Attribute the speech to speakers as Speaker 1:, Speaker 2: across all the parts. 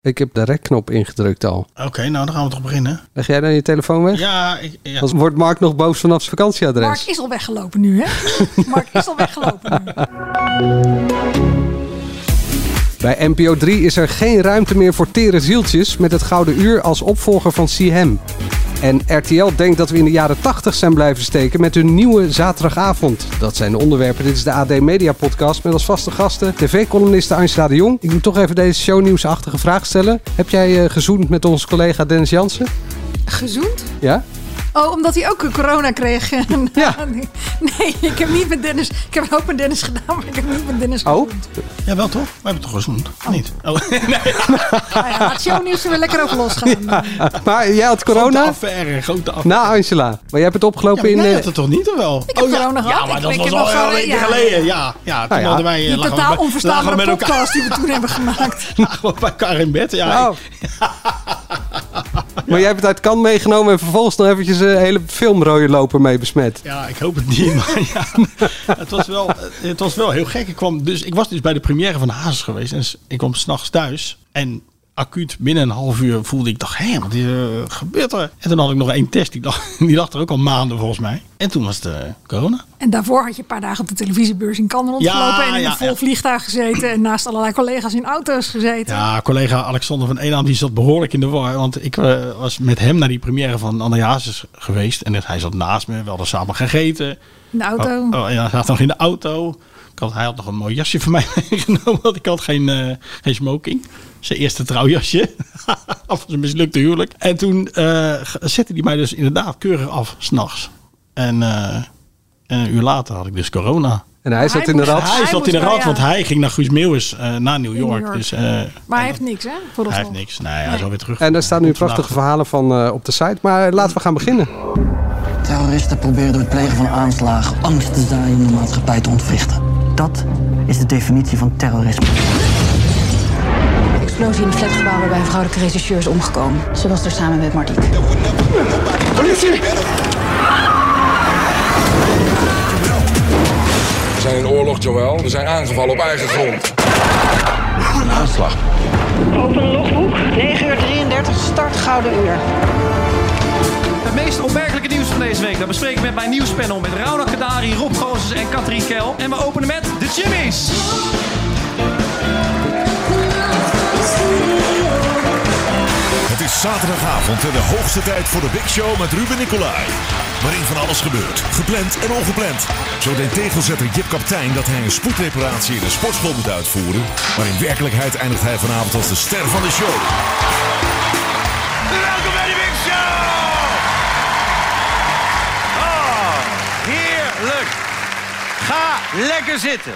Speaker 1: Ik heb de rekknop ingedrukt al.
Speaker 2: Oké, nou dan gaan we toch beginnen.
Speaker 1: Leg jij dan je telefoon weg?
Speaker 2: Ja, ik, ja.
Speaker 1: Dan wordt Mark nog boos vanaf zijn vakantieadres.
Speaker 3: Mark is al weggelopen nu, hè? Mark is al weggelopen nu.
Speaker 1: Bij NPO 3 is er geen ruimte meer voor tere zieltjes met het Gouden Uur als opvolger van CM. En RTL denkt dat we in de jaren 80 zijn blijven steken met hun nieuwe zaterdagavond. Dat zijn de onderwerpen. Dit is de AD Media Podcast met als vaste gasten tv-columniste Angela de Jong. Ik moet toch even deze shownieuwsachtige vraag stellen. Heb jij eh, gezoend met onze collega Dennis Jansen?
Speaker 3: Gezoend?
Speaker 1: Ja?
Speaker 3: Oh, omdat hij ook corona kreeg. En,
Speaker 1: Ja.
Speaker 3: Nee, ik heb niet met Dennis... Ik heb ook met Dennis gedaan, maar ik heb niet met Dennis
Speaker 1: Oh?
Speaker 3: gezoend.
Speaker 2: ja, wel toch? We hebben toch gezoend? Of Niet. Oh, nee.
Speaker 3: Nou ja, laat shownieuws er weer lekker over losgaan.
Speaker 1: Maar jij had
Speaker 2: Grote
Speaker 3: nou.
Speaker 1: corona?
Speaker 2: affaire, grote affaire.
Speaker 1: Na Angela. Maar jij hebt het
Speaker 2: Ja,
Speaker 1: opgelopen
Speaker 2: maar
Speaker 1: in...
Speaker 2: jij
Speaker 1: eh,
Speaker 2: had het toch niet, of wel? Oh,
Speaker 3: Ik heb corona
Speaker 2: ja.
Speaker 3: gehad.
Speaker 2: Ja, maar
Speaker 3: Ik-
Speaker 2: dat
Speaker 3: ik
Speaker 2: was
Speaker 3: heb
Speaker 2: al
Speaker 3: nog
Speaker 2: heel
Speaker 3: zo-
Speaker 2: weken
Speaker 3: ja.
Speaker 2: geleden. Ja, ja toen
Speaker 1: Nou ja.
Speaker 2: hadden wij... eh,
Speaker 3: Die
Speaker 2: lagen we
Speaker 3: totaal
Speaker 2: bij- lagen we
Speaker 3: onverstaanbare
Speaker 2: met elkaar,
Speaker 3: podcast die we toen hebben gemaakt.
Speaker 2: lagen we bij elkaar in bed. Ja,
Speaker 1: Oh. Maar jij hebt het uit Kan meegenomen en vervolgens nog eventjes een hele filmrode loper mee besmet.
Speaker 2: Ja, ik hoop het niet. Maar ja, het, was wel, het was wel heel gek. Ik, kwam dus, ik was dus bij de première van Hazes geweest. En s- ik kwam s'nachts thuis. En acuut binnen een half uur voelde ik, dacht, hé, wat is, er- eh, gebeurt er? En toen had ik nog één test. Die lag, die lag er ook al maanden volgens mij. En toen was het eh, corona.
Speaker 3: En daarvoor had je een paar dagen op de televisiebeurs in Cannes rondgelopen. en in
Speaker 2: ja,
Speaker 3: een vol
Speaker 2: ja.
Speaker 3: vliegtuig gezeten. En naast allerlei collega's in auto's gezeten.
Speaker 2: Ja, collega Alexander van Eenaam die zat behoorlijk in de war. Want ik eh, was met hem naar die première van Anne Hazes geweest. En hij zat naast me. We hadden samen gegeten.
Speaker 3: In de auto.
Speaker 2: Oh, oh, ja, hij zat nog in de auto. Ik had, hij had nog een mooi jasje voor mij meegenomen, want ik had geen, eh, geen smoking. Zijn eerste trouwjasje. af zijn mislukte huwelijk. En toen eh, ge- zette hij mij dus inderdaad keurig af, s'nachts. En, eh, en een uur later had ik dus corona.
Speaker 1: En hij zat in de
Speaker 3: moest-
Speaker 1: rat.
Speaker 2: Hij,
Speaker 3: Hij
Speaker 2: zat in de
Speaker 3: moest-
Speaker 2: rat,
Speaker 3: ja.
Speaker 2: want hij ging naar Guus Meeuwis eh, naar New
Speaker 3: New
Speaker 2: York.
Speaker 3: York.
Speaker 2: Dus eh,
Speaker 3: Maar hij heeft niks, hè? Voor
Speaker 2: hij heeft niks. Nee, hij is alweer terug.
Speaker 1: En daar staan nu
Speaker 2: Komt vandaag
Speaker 1: prachtige verhalen van eh, op de site. Maar laten we gaan beginnen.
Speaker 4: Terroristen proberen door het plegen van aanslagen angst te zaaien in de maatschappij te ontwrichten. Dat is de definitie van terrorisme.
Speaker 5: Explosie in een flatgebouw waarbij een vrouwelijke regisseur is omgekomen. Ze was er samen met Martiek.
Speaker 6: We zijn in oorlog, Joël. We zijn aangevallen op eigen grond.
Speaker 5: Open logboek. 9 uur 33, start Gouden Uur.
Speaker 4: Het meest opmerkelijke nieuws van deze week, dat bespreek ik met mijn nieuwspanel met Rauwna Kadari, Rob Gozes en Katrien Kel. En we openen met de Jimmys.
Speaker 7: Het is zaterdagavond en de hoogste tijd voor de Big Show met Ruben Nicolai. Waarin van alles gebeurt, gepland en ongepland. Zo deed tegelzetter Jip Kaptein dat hij een spoedreparatie in een sportschool moet uitvoeren. Maar in werkelijkheid eindigt hij vanavond als de ster van de show.
Speaker 6: Welkom bij de Big Show! Oh, heerlijk. Ga lekker zitten,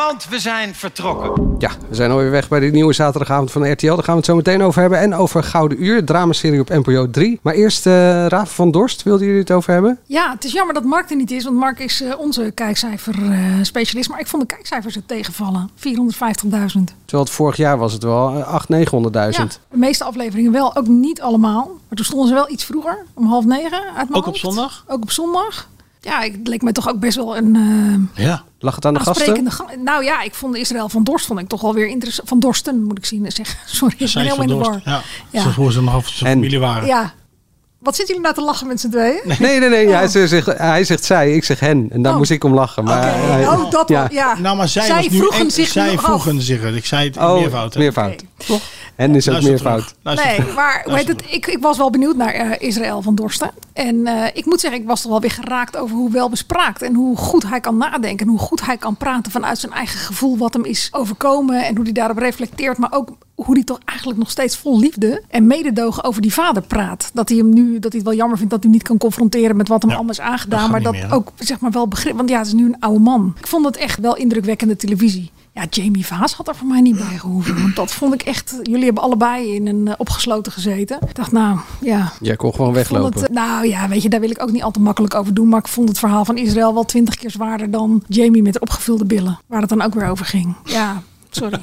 Speaker 6: want we zijn vertrokken.
Speaker 1: Ja, we zijn alweer weg bij de nieuwe zaterdagavond van RTL. Daar gaan we het zo meteen over hebben. En over Gouden Uur, dramaserie op NPO 3. Maar eerst eh Raven van Dorst, wilden jullie het over hebben?
Speaker 3: Ja, het is jammer dat Mark er niet is, want Mark is eh, onze kijkcijferspecialist. specialist. maar ik vond de kijkcijfers het tegenvallen. 450.000.
Speaker 1: Terwijl het vorig jaar was het wel eh, 800.000, 900.000.
Speaker 3: Ja, de meeste afleveringen wel, ook niet allemaal. Maar toen stonden ze wel iets vroeger, om half negen uit mijn
Speaker 2: Ook op
Speaker 3: hoofd.
Speaker 2: zondag?
Speaker 3: Ook op zondag. Ja, ik- het leek me toch ook best wel een eh,
Speaker 2: Ja.
Speaker 1: Lag het aan de gasten?
Speaker 3: aansprekende... ga- Nou ja, ik vond Israël van Dorst vond ik toch wel weer interessant. Van Dorsten moet ik zien eh, zeggen. Sorry, ik ben
Speaker 2: Zij is
Speaker 3: helemaal
Speaker 2: van
Speaker 3: in
Speaker 2: Dorst.
Speaker 3: de war.
Speaker 2: Ja.
Speaker 3: Ja.
Speaker 2: Zoals hoe ze nog af zijn
Speaker 1: En-
Speaker 2: familie waren.
Speaker 3: Ja. Wat zitten jullie nou te lachen met z'n tweeën?
Speaker 1: Nee, nee, nee. Hij, zegt, hij zegt zij, ik zeg hen. En daar
Speaker 3: Oh.
Speaker 1: moest ik om lachen. Maar,
Speaker 3: Oké,
Speaker 1: hij-
Speaker 3: oh, dat
Speaker 1: ja.
Speaker 3: ja. ja.
Speaker 2: Nou, maar zij, was nu
Speaker 3: vroegen
Speaker 2: echt-
Speaker 3: zich nu
Speaker 2: zij
Speaker 3: af.
Speaker 2: vroegen zich het. Ik zei het in
Speaker 1: Oh,
Speaker 2: meervoud. hè.
Speaker 1: meervoud. Toch? En is ook
Speaker 2: Luister
Speaker 1: meervoud.
Speaker 2: terug. Luister
Speaker 3: Nee,
Speaker 2: terug.
Speaker 3: maar hoe heet het, ik, ik was wel benieuwd naar eh, Israël van Dorsten. En eh, ik moet zeggen, ik was toch wel weer geraakt over hoe welbespraakt en hoe goed hij kan nadenken. En hoe goed hij kan praten vanuit zijn eigen gevoel wat hem is overkomen. En hoe hij daarop reflecteert. Maar ook hoe hij toch eigenlijk nog steeds vol liefde en mededogen over die vader praat. Dat hij hem nu, dat hij het wel jammer vindt dat hij hem niet kan confronteren met wat hem
Speaker 2: Ja,
Speaker 3: allemaal is
Speaker 2: dat
Speaker 3: aangedaan.
Speaker 2: gaat
Speaker 3: Maar
Speaker 2: niet
Speaker 3: dat
Speaker 2: meer, hè?
Speaker 3: ook ook zeg maar wel begrip. Want ja, het is nu een oude man. Ik vond het echt wel indrukwekkende televisie. Ja, Jamie Vaas had er voor mij niet bij gehoeven. Want dat vond ik echt... Jullie hebben allebei in een eh, opgesloten gezeten. Ik dacht, nou, ja...
Speaker 1: Jij kon gewoon
Speaker 3: Ik vond
Speaker 1: weglopen.
Speaker 3: het, eh, nou ja, weet je, daar wil ik ook niet al te makkelijk over doen. Maar ik vond het verhaal van Israël wel twintig keer zwaarder dan Jamie met opgevulde billen. Waar het dan ook weer over ging. Ja, sorry.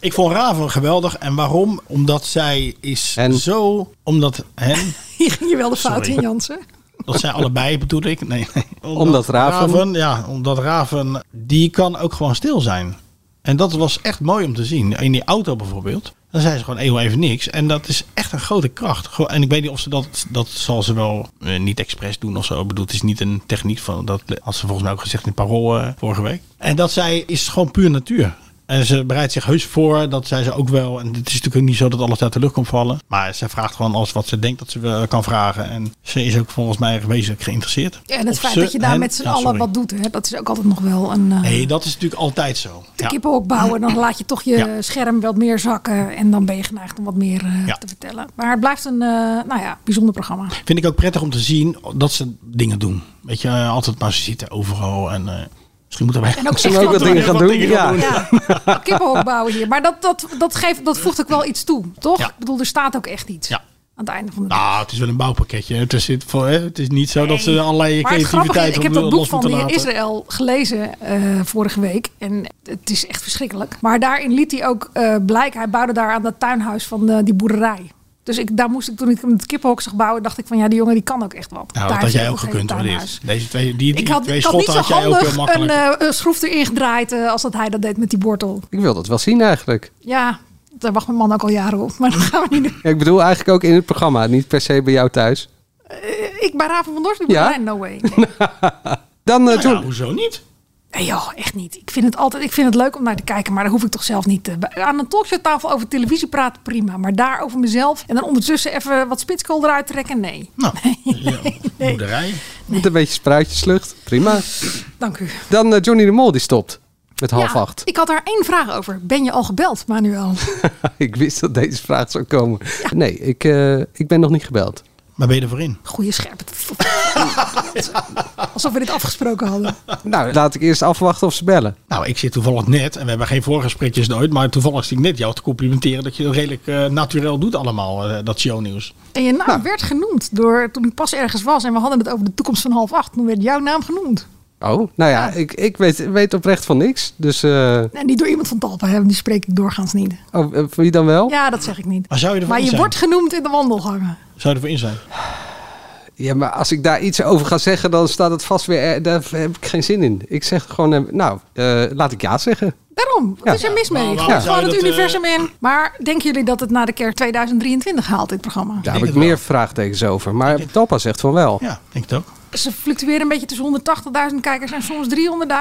Speaker 2: Ik vond Raven geweldig. En waarom? Omdat zij is
Speaker 1: En?
Speaker 2: zo... Omdat hen...
Speaker 3: Hier ging je wel de fout
Speaker 2: Sorry.
Speaker 3: in, Jansen.
Speaker 2: Dat zij allebei bedoel ik. Nee, nee.
Speaker 1: Omdat Raven-
Speaker 2: Ja, omdat Raven... Die kan ook gewoon stil zijn. En dat was echt mooi om te zien. In die auto bijvoorbeeld. Dan zei ze gewoon eeuw even niks. En dat is echt een grote kracht. Gewoon- En ik weet niet of ze dat... Dat zal ze wel eh, niet expres doen of zo. Ik bedoel, het is niet een techniek van... Dat had ze volgens mij ook gezegd in Parool eh, vorige week. En dat zij is gewoon puur natuur. En ze bereidt zich heus voor, dat zei ze ook wel. En het is natuurlijk ook niet zo dat alles uit de lucht komt vallen. Maar ze vraagt gewoon alles wat ze denkt dat ze eh, kan vragen. En ze is ook volgens mij wezenlijk geïnteresseerd.
Speaker 3: Ja, en het
Speaker 2: Of
Speaker 3: feit
Speaker 2: ze
Speaker 3: dat je daar
Speaker 2: hen-
Speaker 3: met z'n
Speaker 2: Ja,
Speaker 3: allen
Speaker 2: sorry.
Speaker 3: wat doet, hè, dat is ook altijd nog wel een eh
Speaker 2: Nee, dat is natuurlijk altijd zo.
Speaker 3: de
Speaker 2: Ja.
Speaker 3: kippenhok bouwen. Dan laat je toch je
Speaker 2: Ja.
Speaker 3: scherm wat meer zakken en dan ben je geneigd om wat meer eh,
Speaker 2: Ja.
Speaker 3: te vertellen. Maar het blijft een eh, nou ja, bijzonder programma.
Speaker 2: Vind ik ook prettig om te zien dat ze dingen doen. Weet je, eh, altijd maar ze zitten overal. En eh, misschien moeten wij...
Speaker 3: En ook
Speaker 1: Zullen
Speaker 3: echt
Speaker 1: we ook wat dingen gaan
Speaker 2: wat
Speaker 1: doen?
Speaker 2: dingen gaan
Speaker 1: Ja.
Speaker 2: doen.
Speaker 3: Ja, kippenhok bouwen hier. Maar dat, dat, dat, geeft, dat voegt ook wel iets toe, toch?
Speaker 2: Ja.
Speaker 3: Ik bedoel, er staat ook echt iets
Speaker 2: Ja.
Speaker 3: aan het einde van de dag.
Speaker 2: Nou, het is wel een bouwpakketje. hè. Het is, dit voor, hè, het is niet zo dat ze allerlei
Speaker 3: Maar het grappige is,
Speaker 2: creativiteit
Speaker 3: ik heb
Speaker 2: om- eh,
Speaker 3: dat boek
Speaker 2: los
Speaker 3: van
Speaker 2: moeten
Speaker 3: die
Speaker 2: laten.
Speaker 3: Israël gelezen eh, vorige week. En het is echt verschrikkelijk. Maar daarin liet hij ook eh blijk, hij bouwde daar aan dat tuinhuis van eh, die boerderij. Dus ik, daar moest ik, toen ik hem het kippenhok zag bouwen, dacht ik van ja, die jongen die kan ook echt wat.
Speaker 2: Nou,
Speaker 3: Daar
Speaker 2: dat had
Speaker 3: heeft
Speaker 2: jij
Speaker 3: hij
Speaker 2: ook
Speaker 3: een
Speaker 2: gekund. hoor, dit.
Speaker 3: tuinhuis.
Speaker 2: Deze twee, die, die
Speaker 3: Ik had,
Speaker 2: twee
Speaker 3: ik had niet
Speaker 2: schotten
Speaker 3: zo
Speaker 2: had jij ook
Speaker 3: handig
Speaker 2: heel makkelijk.
Speaker 3: een eh, schroef erin gedraaid eh, als dat hij dat deed met die wortel.
Speaker 1: Ik wil dat wel zien eigenlijk.
Speaker 3: Ja, daar wacht mijn man ook al jaren op. Maar dat gaan we niet doen.
Speaker 1: Ja, ik bedoel eigenlijk ook in het programma, niet per se bij jou thuis.
Speaker 3: Ik bij Raven van Dorst,
Speaker 1: Ja?
Speaker 3: ja? no way. Nee.
Speaker 1: Dan eh,
Speaker 2: Nou ja,
Speaker 1: toen...
Speaker 2: hoezo niet?
Speaker 3: Nee joh, echt niet. Ik vind, het altijd, ik vind het leuk om naar te kijken, maar daar hoef ik toch zelf niet te... Aan een talkshowtafel over televisie praten, prima. Maar daar over mezelf en dan ondertussen even wat spitskool eruit trekken, nee.
Speaker 2: Nou, ja, boerderij.
Speaker 1: Met een beetje spruitjeslucht. Prima.
Speaker 3: Dank u.
Speaker 1: Dan eh, Johnny de Mol die stopt. Met half
Speaker 3: Ja,
Speaker 1: acht.
Speaker 3: Ik had daar één vraag over. Ben je al gebeld, Manuel?
Speaker 1: Ik wist dat deze vraag zou komen. Nee, ik, eh, ik ben nog niet gebeld.
Speaker 2: Maar ben je ervoor in?
Speaker 3: Goeie scherpe... Alsof we dit afgesproken hadden.
Speaker 1: Nou, laat ik eerst afwachten of ze bellen.
Speaker 2: Nou, ik zit toevallig net, en we hebben geen voorgesprekjes nooit, maar toevallig zit ik net jou te complimenteren dat je dat redelijk eh naturel doet allemaal, eh, dat shownieuws.
Speaker 3: En je naam
Speaker 1: Nou.
Speaker 3: werd genoemd door, toen ik pas ergens was en we hadden het over de toekomst van half acht. Toen werd jouw naam genoemd.
Speaker 1: Oh, nou ja, ik, ik weet, weet oprecht van niks. Dus eh
Speaker 3: En die door iemand van Talpa hebben, die spreek ik doorgaans niet.
Speaker 1: oh, eh, wie dan wel?
Speaker 3: Ja, dat zeg ik niet.
Speaker 2: Maar zou je ervoor
Speaker 3: Maar
Speaker 2: in
Speaker 3: je
Speaker 2: zijn?
Speaker 3: wordt genoemd in de wandelgangen.
Speaker 2: Zou je ervoor in zijn?
Speaker 1: Ja, maar als ik daar iets over ga zeggen, dan staat het vast weer. eh, Daar heb ik geen zin in. Ik zeg gewoon, eh, nou, eh, laat ik ja zeggen.
Speaker 3: Daarom, wat
Speaker 1: Ja.
Speaker 3: is er mis mee?
Speaker 2: maar waarom
Speaker 3: Gewoon
Speaker 2: zou je
Speaker 3: het
Speaker 2: dat, eh,
Speaker 3: universum in. Maar denken jullie dat het na de kerk 2023 haalt, dit programma?
Speaker 1: Daar heb ik
Speaker 2: het wel.
Speaker 1: meer vraagtekens over. Maar Talpa zegt van wel.
Speaker 2: Ja, denk het ook.
Speaker 3: Ze fluctueren een beetje tussen 180.000 kijkers en soms 300.000.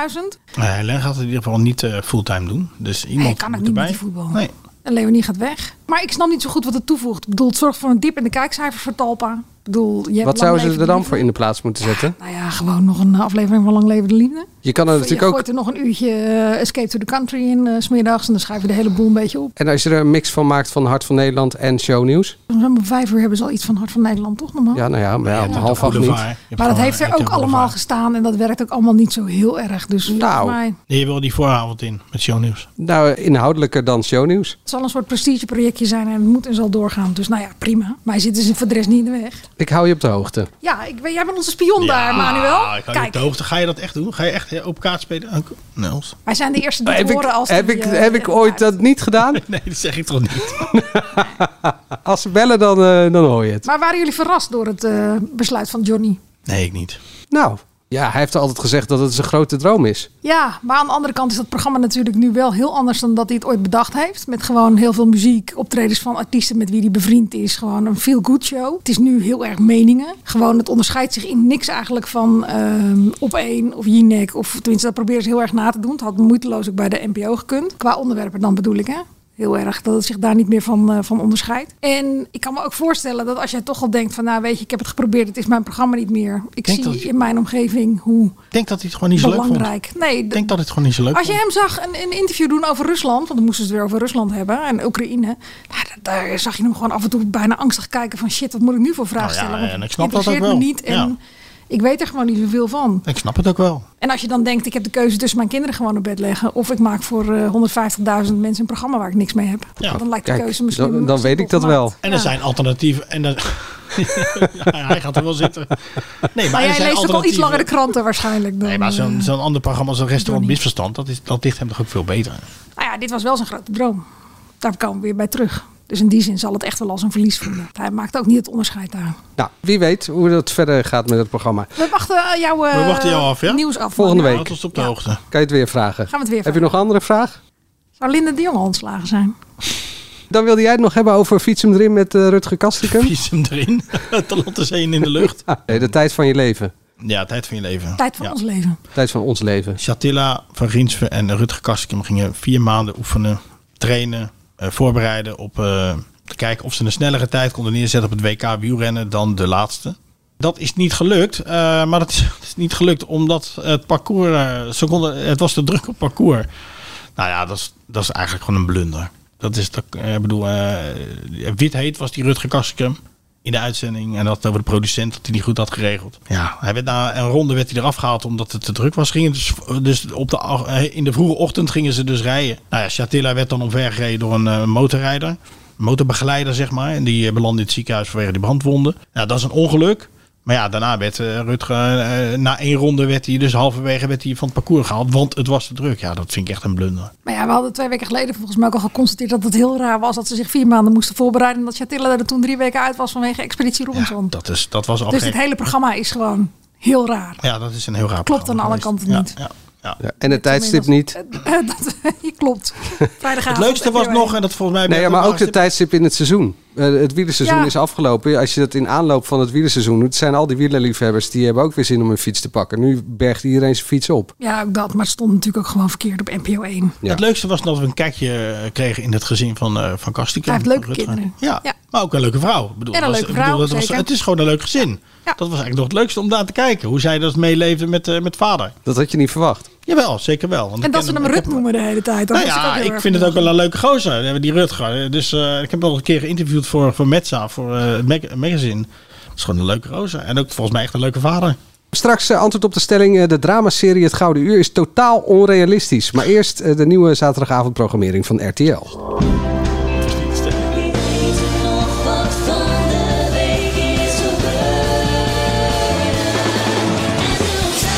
Speaker 2: Nou, Helen gaat het in ieder geval niet eh, fulltime doen, dus iemand
Speaker 3: Nee, kan ook
Speaker 2: moet
Speaker 3: niet met
Speaker 2: erbij.
Speaker 3: die voetbal.
Speaker 2: Nee.
Speaker 3: En Leonie gaat weg. Maar ik snap niet zo goed wat het toevoegt. Ik bedoel, het zorgt voor een dip in de kijkcijfers voor Talpa. Ik bedoel, je hebt
Speaker 1: Wat
Speaker 3: Lang
Speaker 1: zouden ze
Speaker 3: Leven
Speaker 1: er
Speaker 3: de
Speaker 1: dan
Speaker 3: Liefde.
Speaker 1: voor in de plaats moeten zetten?
Speaker 3: Nou ja, gewoon nog een aflevering van Lang Leven de Liefde.
Speaker 1: Je kan er
Speaker 3: Je
Speaker 1: natuurlijk ook.
Speaker 3: gooit er nog een uurtje eh, Escape to the Country in, eh, 's smiddags. En dan schrijf je de hele boel een beetje op.
Speaker 1: En als je er een mix van maakt van Hart van Nederland en shownieuws.
Speaker 3: Om vijf uur hebben ze al iets van Hart van Nederland, toch normaal?
Speaker 1: Ja, nou ja, maar ja, om
Speaker 2: Ja,
Speaker 1: half
Speaker 2: de
Speaker 1: acht
Speaker 2: boulevard. Je
Speaker 1: niet.
Speaker 2: hebt
Speaker 3: Maar dat
Speaker 2: gewoon,
Speaker 3: heeft
Speaker 2: eh,
Speaker 3: er
Speaker 2: je
Speaker 3: ook
Speaker 2: hebt de
Speaker 3: allemaal
Speaker 2: boulevard.
Speaker 3: gestaan en dat werkt ook allemaal niet zo heel erg. Dus volgens
Speaker 1: Nou.
Speaker 3: mij,
Speaker 2: Nee, je wil die vooravond in met shownieuws.
Speaker 1: Nou, inhoudelijker dan shownieuws.
Speaker 3: het zal een soort prestigeprojectje zijn en het moet en zal doorgaan. Dus nou ja, prima. Maar zitten ze voor de rest niet in de weg.
Speaker 1: Ik hou je op de hoogte.
Speaker 3: Ja, ik ben, jij bent onze spion daar,
Speaker 2: Ah, ik
Speaker 3: Manuel.
Speaker 2: hou je op de
Speaker 3: Kijk,
Speaker 2: hoogte. Ga je dat echt doen? Ga je echt eh, op kaart spelen? Ook- Nels?
Speaker 3: wij zijn de eerste die het
Speaker 1: Heb ik,
Speaker 3: horen als
Speaker 1: heb
Speaker 3: die,
Speaker 1: ik,
Speaker 3: eh,
Speaker 1: heb ik ooit dat niet gedaan?
Speaker 2: Nee, dat zeg ik toch niet.
Speaker 1: Als ze bellen, dan, eh, dan hoor je het.
Speaker 3: Maar waren jullie verrast door het eh, besluit van Johnny?
Speaker 2: Nee, ik niet.
Speaker 1: Nou, ja, hij heeft altijd gezegd dat het zijn grote droom is.
Speaker 3: Ja, maar aan de andere kant is dat programma natuurlijk nu wel heel anders dan dat hij het ooit bedacht heeft. Met gewoon heel veel muziek, optredens van artiesten met wie hij bevriend is. Gewoon een feel-good show. Het is nu heel erg meningen. Gewoon, het onderscheidt zich in niks eigenlijk van ehm Op één of Jinek. Of tenminste, dat proberen ze heel erg na te doen. Het had moeiteloos ook bij de NPO gekund. Qua onderwerpen dan bedoel ik, hè? heel erg dat het zich daar niet meer van, eh, van onderscheidt. En ik kan me ook voorstellen dat als jij toch al denkt van... nou weet je, ik heb het geprobeerd, het is mijn programma niet meer. Ik
Speaker 2: Denk
Speaker 3: zie
Speaker 2: dat-
Speaker 3: in mijn omgeving hoe
Speaker 2: Ik denk dat hij het gewoon niet zo leuk vond.
Speaker 3: belangrijk... Nee,
Speaker 2: Ik denk dat hij het gewoon niet zo leuk
Speaker 3: als je
Speaker 2: vond.
Speaker 3: hem zag een, een interview doen over Rusland, want dan moesten ze het weer over Rusland hebben en Oekraïne. Nou, da- daar zag je hem gewoon af en toe bijna angstig kijken van shit, wat moet ik nu voor vraag
Speaker 2: Nou ja,
Speaker 3: stellen? Want
Speaker 2: en ik
Speaker 3: het
Speaker 2: snap dat ook
Speaker 3: interesseert me
Speaker 2: wel.
Speaker 3: niet. En, Ik weet er gewoon niet zoveel van.
Speaker 2: Ik snap het ook wel.
Speaker 3: En als je dan denkt, ik heb de keuze tussen mijn kinderen gewoon op bed leggen. Of ik maak voor eh, 150.000 mensen een programma waar ik niks mee heb.
Speaker 2: Ja.
Speaker 3: Dan lijkt de
Speaker 1: Kijk,
Speaker 3: keuze misschien...
Speaker 1: dan- dan weet ik dat wel.
Speaker 2: En
Speaker 3: dan
Speaker 2: er zijn alternatieven. En er, ja, hij gaat er wel zitten. Nee,
Speaker 3: Maar
Speaker 2: er
Speaker 3: jij
Speaker 2: zijn
Speaker 3: leest ook al iets
Speaker 2: alternatieven.
Speaker 3: langere kranten waarschijnlijk. Dan,
Speaker 2: Nee, maar
Speaker 3: eh,
Speaker 2: zo'n zo'n ander programma als een restaurant
Speaker 3: Johnny.
Speaker 2: misverstand, dat, is, dat ligt hem toch ook veel beter.
Speaker 3: Nou ja, dit was wel zijn grote droom. Daar komen we weer bij terug. Dus in die zin zal het echt wel als een verlies voelen. Hij maakt ook niet het onderscheid daar.
Speaker 1: Nou, wie weet hoe dat verder gaat met het programma.
Speaker 3: We wachten eh, jouw eh,
Speaker 2: We wachten jou af, ja?
Speaker 3: nieuws af.
Speaker 1: Volgende
Speaker 3: Ja.
Speaker 1: week.
Speaker 2: Dat is op de hoogte.
Speaker 1: Kan je het weer vragen?
Speaker 3: Gaan we het weer
Speaker 1: Heb je nog een andere vraag?
Speaker 3: Zou Linda de Jonge ontslagen zijn?
Speaker 1: Dan wilde jij het nog hebben over Fiets hem erin met eh, Rutger Kastrikum?
Speaker 2: Vies hem erin. Te land is één in de lucht.
Speaker 1: Ah, nee, de tijd van je leven.
Speaker 2: Ja, tijd van je leven.
Speaker 3: Tijd van
Speaker 2: Ja.
Speaker 3: ons leven.
Speaker 1: tijd van ons leven.
Speaker 2: Shatilla van Riensven en Rutger Kastikum gingen vier maanden oefenen, trainen, eh, voorbereiden op eh, te kijken of ze een snellere tijd konden neerzetten op het WK wielrennen dan de laatste. Dat is niet gelukt, eh, maar dat is, dat is niet gelukt omdat het parcours, eh, ze konden, het was te druk op het parcours. Nou ja, dat is, dat is eigenlijk gewoon een blunder. Dat is, dat, eh, ik bedoel, eh, wit heet was die Rutger Kastikum in de uitzending. En dat over de producent, dat hij niet goed had geregeld. Ja, Nou, hij werd na een ronde werd hij eraf gehaald omdat het te druk was. Gingen dus, dus op de, ach- eh, in de vroege ochtend gingen ze dus rijden. Nou ja, Chatilla werd dan omvergereden door een eh, motorrijder. Een motorbegeleider, zeg maar. En die eh, belandde in het ziekenhuis vanwege die brandwonden. Nou, dat is een ongeluk. Maar ja, daarna werd eh, Rutger, eh, na één ronde werd hij dus halverwege werd hij van het parcours gehaald. Want het was te druk. Ja, dat vind ik echt een blunder.
Speaker 3: Maar ja, we hadden twee weken geleden volgens mij ook al geconstateerd dat het heel raar was dat ze zich vier maanden moesten voorbereiden. En dat Chatilla er toen drie weken uit was vanwege Expeditie
Speaker 2: Ja,
Speaker 3: Robinson.
Speaker 2: dat, is, dat was al
Speaker 3: dus
Speaker 2: gek.
Speaker 3: dit hele programma is gewoon heel raar.
Speaker 2: Ja, dat is een heel raar
Speaker 3: Klopt aan
Speaker 2: programma
Speaker 3: alle
Speaker 2: geweest.
Speaker 3: kanten niet.
Speaker 2: Ja, ja, ja.
Speaker 1: Ja, en het tijdstip
Speaker 3: Tenminste,
Speaker 1: niet.
Speaker 3: eh, dat, je klopt. Vrijdagavond.
Speaker 2: Het leukste was
Speaker 3: anyway.
Speaker 2: nog, en dat volgens mij...
Speaker 1: Nee, ja, maar ook
Speaker 2: de
Speaker 1: het tijdstip in het seizoen. Eh, het wielerseizoen
Speaker 3: Ja.
Speaker 1: is afgelopen. Als je dat in aanloop van het wielerseizoen doet, zijn al die wielerliefhebbers die hebben ook weer zin om een fiets te pakken. Nu bergt iedereen zijn fiets op.
Speaker 3: Ja, ook dat. Maar het stond natuurlijk ook gewoon verkeerd op NPO 1.
Speaker 1: Ja.
Speaker 2: Het leukste was dat we een kijkje eh, kregen in het gezin van, eh van Kastikum.
Speaker 3: Hij heeft leuke
Speaker 2: van Rutger.
Speaker 3: kinderen.
Speaker 2: Ja,
Speaker 3: Ja.
Speaker 2: maar ook een leuke vrouw. Ik bedoel,
Speaker 3: En een
Speaker 2: het was- ik
Speaker 3: leuke
Speaker 2: bedoel,
Speaker 3: vrouw,
Speaker 2: het was-
Speaker 3: zeker.
Speaker 2: het is gewoon een leuk gezin.
Speaker 3: Ja.
Speaker 2: Dat was eigenlijk nog het leukste om daar te kijken. Hoe zij dat meeleefde met, eh, met vader.
Speaker 1: Dat had je niet verwacht.
Speaker 2: Jawel, zeker wel. Want
Speaker 3: En
Speaker 2: ik
Speaker 3: dat
Speaker 2: ken
Speaker 3: ze hem Rut
Speaker 2: ook-
Speaker 3: noemen de hele tijd. Dat
Speaker 2: Nou
Speaker 3: was ook
Speaker 2: ja,
Speaker 3: heel
Speaker 2: ik
Speaker 3: erg
Speaker 2: vind het ook
Speaker 3: grappig.
Speaker 2: wel een leuke gozer, die Rutger. Dus eh, ik heb hem al een keer geïnterviewd voor, voor Metza, voor eh, het mag- magazine. Dat is gewoon een leuke gozer. En ook volgens mij echt een leuke vader.
Speaker 1: Straks eh, antwoord op de stelling: eh, de dramaserie Het Gouden Uur is totaal onrealistisch. Maar eerst eh, de nieuwe zaterdagavondprogrammering van RTL.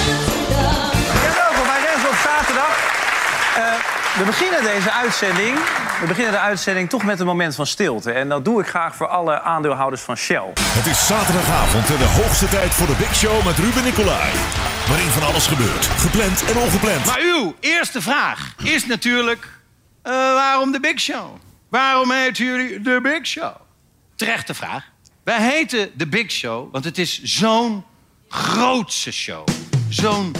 Speaker 6: Ja, welkom bij Rens op zaterdag. Eh, we beginnen deze uitzending. We beginnen de uitzending toch met een moment van stilte. En dat doe ik graag voor alle aandeelhouders van Shell.
Speaker 7: Het is zaterdagavond en de hoogste tijd voor de Big Show met Ruben Nicolai. Waarin van alles gebeurt, gepland en ongepland.
Speaker 6: Maar uw eerste vraag is natuurlijk: eh, waarom de Big Show? Waarom heten jullie de Big Show? Terechte vraag. Wij heten de Big Show, want het is zo'n grootse show. Zo'n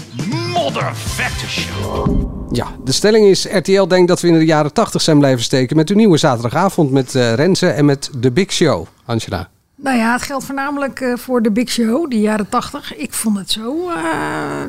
Speaker 6: moddervette show.
Speaker 1: Ja, de stelling is: RTL denkt dat we in de jaren 80 zijn blijven steken met de nieuwe zaterdagavond met eh Renze en met The Big Show. Angela.
Speaker 3: Nou ja, het geldt voornamelijk eh, voor de Big Show, die jaren 80. Ik vond het zo. eh,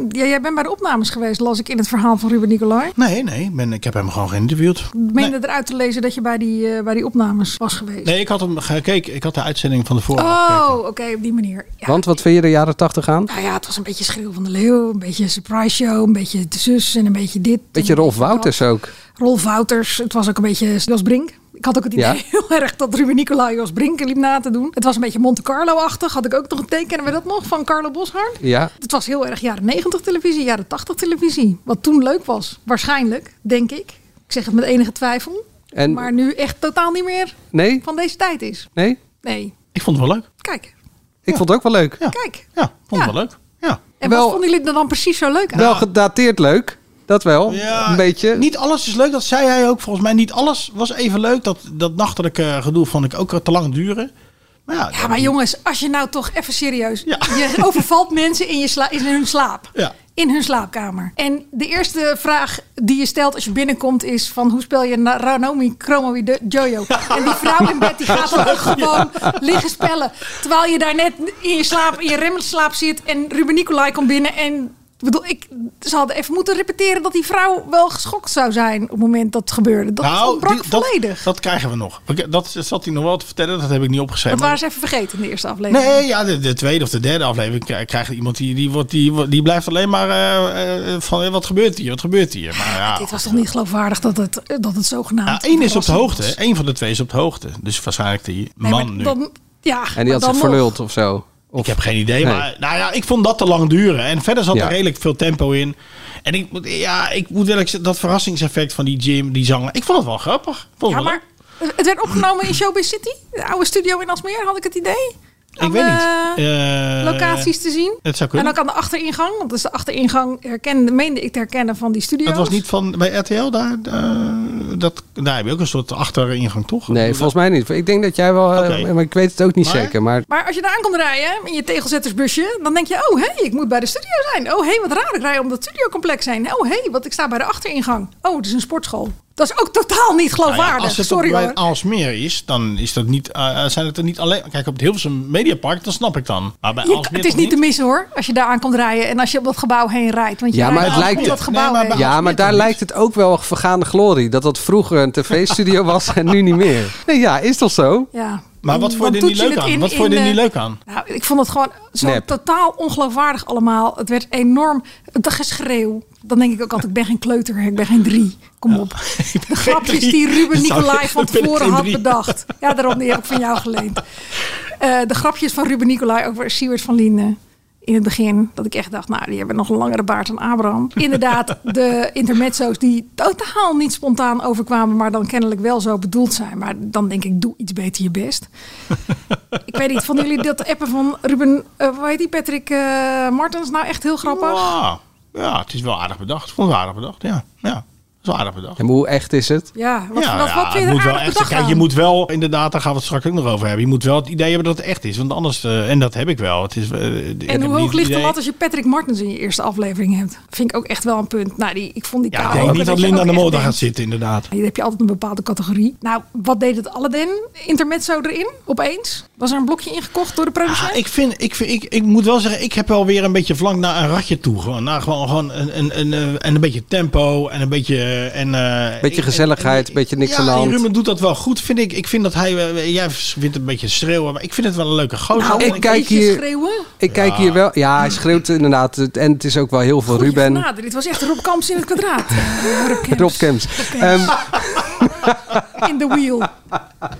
Speaker 3: ja, jij bent bij de opnames geweest, las ik in het verhaal van Ruben Nicolai.
Speaker 2: Nee, nee, ik ben, ik heb hem gewoon geïnterviewd.
Speaker 3: Ik meende eruit te lezen dat je bij die, eh, bij die opnames was geweest.
Speaker 2: Nee, ik had hem gekeken. Ik had de uitzending van de vorige
Speaker 3: Oh,
Speaker 2: gekeken.
Speaker 3: oké, op die manier. Ja.
Speaker 1: Want wat vind je de jaren 80 aan?
Speaker 3: Nou ja, het was een beetje Schreeuw van de Leeuw, een beetje surprise show, een beetje de zus en een beetje dit.
Speaker 1: Beetje
Speaker 3: en een
Speaker 1: Rolf Wouters
Speaker 3: dat.
Speaker 1: ook.
Speaker 3: Rolf Wouters, het was ook een beetje Jos Brink. Ik had ook het idee
Speaker 1: Ja.
Speaker 3: heel erg dat Ruben Nicolai Jos Brink liep na te doen. Het was een beetje Monte Carlo-achtig, had ik ook nog een teken. Kennen we dat nog, van Carlo Boshart?
Speaker 1: Ja,
Speaker 3: Het was heel erg jaren 90 televisie, jaren 80 televisie. Wat toen leuk was, waarschijnlijk, denk ik. Ik zeg het met enige twijfel.
Speaker 1: En-
Speaker 3: Maar nu echt totaal niet meer
Speaker 1: nee,
Speaker 3: van deze tijd is.
Speaker 1: nee.
Speaker 3: Nee,
Speaker 2: Ik vond het wel leuk.
Speaker 3: kijk,
Speaker 1: Ik vond het ook wel leuk.
Speaker 2: Ja.
Speaker 3: kijk.
Speaker 2: Ja, ik vond het
Speaker 3: Ja.
Speaker 2: wel leuk. Ja.
Speaker 3: En
Speaker 1: Wel-
Speaker 3: wat vonden jullie er dan precies zo leuk aan?
Speaker 1: Wel gedateerd leuk. Dat wel.
Speaker 2: Ja,
Speaker 1: een beetje.
Speaker 2: Niet alles is leuk, dat zei hij ook. Volgens mij niet alles was even leuk. Dat, dat nachtelijke gedoe vond ik ook te lang duren. Maar ja,
Speaker 3: Ja, maar jongens, als je nou toch even serieus...
Speaker 2: Ja.
Speaker 3: Je overvalt mensen in, je sla, in hun slaap.
Speaker 2: Ja.
Speaker 3: In hun slaapkamer. En de eerste vraag die je stelt als je binnenkomt is van... hoe spel je Na- Ranomi Kromowi de Jojo? En die vrouw in bed die gaat dan ook gewoon liggen spellen. Terwijl je daar net in je slaap, in je remslaap zit... en Ruben Nicolai komt binnen en Ik bedoel, ik, ze hadden even moeten repeteren dat die vrouw wel geschokt zou zijn op het moment dat het gebeurde. Dat ontbrak
Speaker 2: Nou, die- dat,
Speaker 3: volledig.
Speaker 2: Dat krijgen we nog. Oké, Dat zat hij nog wel te vertellen, dat heb ik niet opgeschreven.
Speaker 3: dat waren ze even vergeten in de eerste aflevering.
Speaker 2: Nee, ja, de, de tweede of de derde aflevering k- krijgt iemand die, die, wordt, die, wordt- die blijft alleen maar eh, eh, van eh, wat gebeurt hier, wat gebeurt hier. Maar ja,
Speaker 3: Dit was toch niet geloofwaardig dat het, dat het zogenaamd...
Speaker 2: nou, Ah, één is op de
Speaker 3: verrassend
Speaker 2: hoogte,
Speaker 3: was.
Speaker 2: één van de twee is op de hoogte. Dus waarschijnlijk die
Speaker 3: Nee, maar
Speaker 2: man nu.
Speaker 3: dan- ja,
Speaker 1: En
Speaker 3: maar
Speaker 1: die had
Speaker 3: dan
Speaker 1: zich
Speaker 3: nog.
Speaker 1: verluld of zo. Of,
Speaker 2: Ik heb geen idee,
Speaker 1: Nee.
Speaker 2: maar nou ja, ik vond dat te lang duren. En verder zat
Speaker 1: Ja.
Speaker 2: er redelijk veel tempo in. En ik, moet- ja, ik moet wel zeggen, dat verrassingseffect van die Jim, die zanger, ik vond het wel grappig. Ik vond
Speaker 3: Ja,
Speaker 2: het wel
Speaker 3: maar het werd opgenomen in Showbiz City. De oude studio in Asmeer, had ik het idee.
Speaker 2: leuk. ik weet niet.
Speaker 3: eh,
Speaker 2: Eh,
Speaker 3: Locaties te zien.
Speaker 2: Het zou
Speaker 3: En
Speaker 2: kunnen.
Speaker 3: ook aan de achteringang. Want dat is de achteringang herkende, meende ik te herkennen van die studio.
Speaker 2: Dat was niet van bij RTL daar. eh, dat, daar heb je ook een soort achteringang toch?
Speaker 1: nee, volgens mij niet. Ik denk dat jij wel... eh,
Speaker 2: Oké.
Speaker 1: maar ik weet het ook niet
Speaker 2: Maar-
Speaker 1: zeker. Maar
Speaker 3: Maar als je daar aan komt rijden in je tegelzettersbusje, dan denk je: oh hé, hey, ik moet bij de studio zijn. Oh hé, hey, wat raar, ik rij om dat studiocomplex heen. Oh hé, hey, want ik sta bij de achteringang. Oh, het is een sportschool. Dat is ook totaal niet
Speaker 2: Nou ja,
Speaker 3: geloofwaardig.
Speaker 2: als het
Speaker 3: Sorry
Speaker 2: Sorry,
Speaker 3: hoor.
Speaker 2: bij Aalsmeer is, dan is dat niet, eh, zijn het er niet alleen... Kijk, op het Hilversum Mediapark, dan snap ik dan. Maar bij
Speaker 3: Je-
Speaker 2: Aalsmeer
Speaker 3: het is
Speaker 2: toch
Speaker 3: niet te missen hoor, als je daar aan komt rijden en als je om dat gebouw heen rijdt. Want je
Speaker 1: Ja,
Speaker 3: rijdt
Speaker 1: maar het
Speaker 3: om
Speaker 1: lijkt-
Speaker 3: dat gebouw
Speaker 2: Nee, maar bij
Speaker 3: heen.
Speaker 2: Aalsmeer
Speaker 1: Ja, maar daar
Speaker 2: toch niet?
Speaker 1: lijkt het ook wel vergaande glorie. Dat dat vroeger een tv-studio was en nu niet meer. Nee, ja, is toch zo?
Speaker 3: Ja.
Speaker 2: Maar wat
Speaker 3: En
Speaker 2: vond je er
Speaker 3: dan
Speaker 2: niet
Speaker 3: toets
Speaker 2: leuk
Speaker 3: het
Speaker 2: aan?
Speaker 3: in-
Speaker 2: Wat vond je
Speaker 3: in,
Speaker 2: er niet
Speaker 3: eh,
Speaker 2: leuk aan?
Speaker 3: Nou, ik vond het gewoon zo
Speaker 1: Nep.
Speaker 3: totaal ongeloofwaardig allemaal. Het werd enorm. De geschreeuw. Dan denk ik ook altijd, ik ben geen kleuter, hè, ik ben geen drie. Kom op. De grapjes
Speaker 2: drie.
Speaker 3: die Ruben
Speaker 2: Dat zou-
Speaker 3: Nicolai van
Speaker 2: dat ben ik
Speaker 3: tevoren
Speaker 2: geen
Speaker 3: had
Speaker 2: drie.
Speaker 3: bedacht. Ja, daarom die heb ik van jou geleend. Eh, de grapjes van Ruben Nicolai over Siewert van Linden. In het begin, dat ik echt dacht, nou, die hebben nog een langere baard dan Abraham. Inderdaad, de intermezzo's die totaal niet spontaan overkwamen, maar dan kennelijk wel zo bedoeld zijn. Maar dan denk ik, doe iets beter je best. Ik weet niet, vonden jullie dat appen van Ruben, eh hoe heet die, Patrick eh, Martens nou echt heel grappig?
Speaker 2: Ja, ja, het is wel aardig bedacht. Ik vond het aardig bedacht, ja. Ja, het is wel aardig bedacht.
Speaker 1: En hoe echt is het?
Speaker 3: Ja, wat,
Speaker 2: ja,
Speaker 3: wat,
Speaker 2: ja,
Speaker 3: wat vind je
Speaker 2: het
Speaker 3: er
Speaker 2: moet wel
Speaker 3: aardig
Speaker 2: echt-
Speaker 3: bedacht
Speaker 2: Kijk, je
Speaker 3: aan?
Speaker 2: moet wel, inderdaad, daar gaan we het straks ook nog over hebben. Je moet wel het idee hebben dat het echt is. Want anders, eh, en dat heb ik wel. Het is, eh, ik heb
Speaker 3: En hoe
Speaker 2: niet
Speaker 3: hoog
Speaker 2: het
Speaker 3: ligt de
Speaker 2: idee-
Speaker 3: lat als je Patrick Martens in je eerste aflevering hebt? Vind ik ook echt wel een punt. Nou, die, ik vond die
Speaker 2: Ja,
Speaker 3: kaal
Speaker 2: ik denk
Speaker 3: ook
Speaker 2: niet dat
Speaker 3: je
Speaker 2: Linda
Speaker 3: ook
Speaker 2: de
Speaker 3: echt
Speaker 2: Mol daar
Speaker 3: denkt,
Speaker 2: gaat zitten, inderdaad.
Speaker 3: Hier heb je altijd een bepaalde categorie. Nou, wat deed het Aladdin intermezzo erin? Opeens? Was er een blokje ingekocht door de producent?
Speaker 2: Ah, ik, vind, ik, vind, ik, ik moet wel zeggen, ik heb wel weer een beetje flank naar een ratje toe. Gewoon, naar gewoon, gewoon een, een, een, eh, en een beetje tempo en een beetje... eh, En, eh,
Speaker 1: Beetje
Speaker 2: ik-
Speaker 1: gezelligheid, beetje niks
Speaker 2: ja,
Speaker 1: aan de
Speaker 2: en
Speaker 1: hand.
Speaker 2: Ruben doet dat wel goed, vind ik. Ik vind dat hij... eh, jij vindt een beetje schreeuwen, maar ik vind het wel een leuke gozer.
Speaker 3: nou,
Speaker 1: ik
Speaker 3: een
Speaker 1: kijk
Speaker 3: beetje
Speaker 1: hier-
Speaker 3: schreeuwen.
Speaker 1: Ik kijk hier wel. Ja, hij schreeuwt inderdaad. het- En het is ook wel heel veel
Speaker 3: Goeie
Speaker 1: Ruben.
Speaker 3: genade, dit was echt Rob Kamps in het kwadraat. Rob Kamps.
Speaker 1: Rob Camps. Ehm,
Speaker 2: Ehm,
Speaker 3: In the wheel.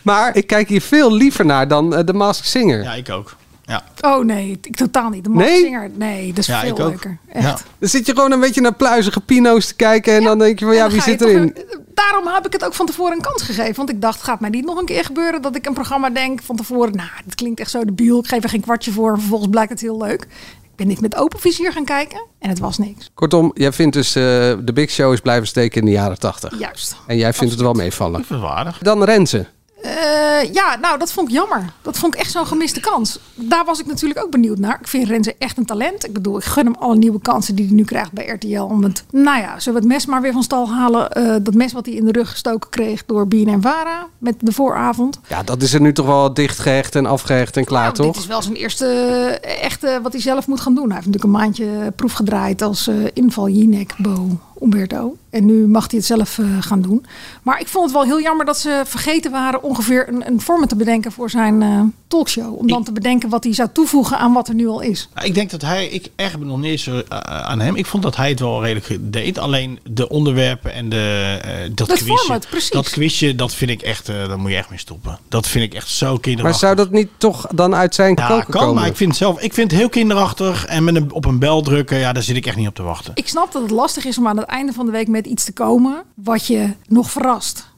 Speaker 1: maar ik kijk hier veel liever naar dan eh, The Masked Singer.
Speaker 2: Ja, ik ook. Ja,
Speaker 3: Oh nee, ik totaal niet. De
Speaker 1: Nee?
Speaker 3: Masked Singer. Nee, dat is
Speaker 2: ja
Speaker 3: veel
Speaker 2: ik ook.
Speaker 3: leuker. Echt.
Speaker 2: Ja.
Speaker 1: Dan zit je gewoon een beetje naar pluizige pino's te kijken. En dan denk je van
Speaker 3: En
Speaker 1: ja,
Speaker 3: dan
Speaker 1: wie
Speaker 3: ga je
Speaker 1: zit
Speaker 3: toch
Speaker 1: erin?
Speaker 3: weer- daarom heb ik het ook van tevoren een kans gegeven. Want ik dacht, gaat mij niet nog een keer gebeuren dat ik een programma denk van tevoren. Nou, dit klinkt echt zo debiel. Ik geef er geen kwartje voor. En vervolgens blijkt het heel leuk. Ik ben dit met open vizier gaan kijken. En het was niks.
Speaker 1: Kortom, jij vindt dus eh, de Big Show is blijven steken in de jaren 80.
Speaker 3: Juist.
Speaker 1: En jij vindt het wel meevallen.
Speaker 2: Ik vind het wel aardig.
Speaker 1: Dan Renze.
Speaker 3: Eh, ja, nou, dat vond ik jammer. Dat vond ik echt zo'n gemiste kans. Daar was ik natuurlijk ook benieuwd naar. Ik vind Renze echt een talent. Ik bedoel, ik gun hem alle nieuwe kansen die hij nu krijgt bij RTL. Om het, nou ja, zullen we het mes maar weer van stal halen? Eh, dat mes wat hij in de rug gestoken kreeg door BNN Vara met de vooravond.
Speaker 1: Ja, dat is er nu toch wel dichtgehecht en afgehecht en klaar,
Speaker 3: Nou,
Speaker 1: toch?
Speaker 3: Dit is wel zijn eerste eh, echte wat hij zelf moet gaan doen. Hij heeft natuurlijk een maandje proef gedraaid als eh, inval Jinek, Bo, Umberto. En nu mag hij het zelf eh, gaan doen. Maar ik vond het wel heel jammer dat ze vergeten waren ongeveer een, een vorm te bedenken voor zijn eh, talkshow. Om dan te bedenken wat hij zou toevoegen aan wat er nu al is.
Speaker 2: Nou, Ik denk dat hij, ik erg me nog niet eens eh, aan hem. Ik vond dat hij het wel redelijk deed. Alleen de onderwerpen en de, eh, dat,
Speaker 3: Dat
Speaker 2: quizje,
Speaker 3: format, precies.
Speaker 2: dat quizje, dat vind ik echt, eh daar moet je echt mee stoppen. Dat vind ik echt zo
Speaker 1: Maar
Speaker 2: kinderachtig.
Speaker 1: zou dat niet toch dan uit zijn
Speaker 2: ja,
Speaker 1: koken
Speaker 2: kan,
Speaker 1: komen?
Speaker 2: maar ik vind het zelf, ik vind het heel kinderachtig en met een, op een bel drukken, ja, daar zit ik echt niet op te wachten.
Speaker 3: Ik snap dat het lastig is om aan het einde van de week met iets te komen wat je nog verrast.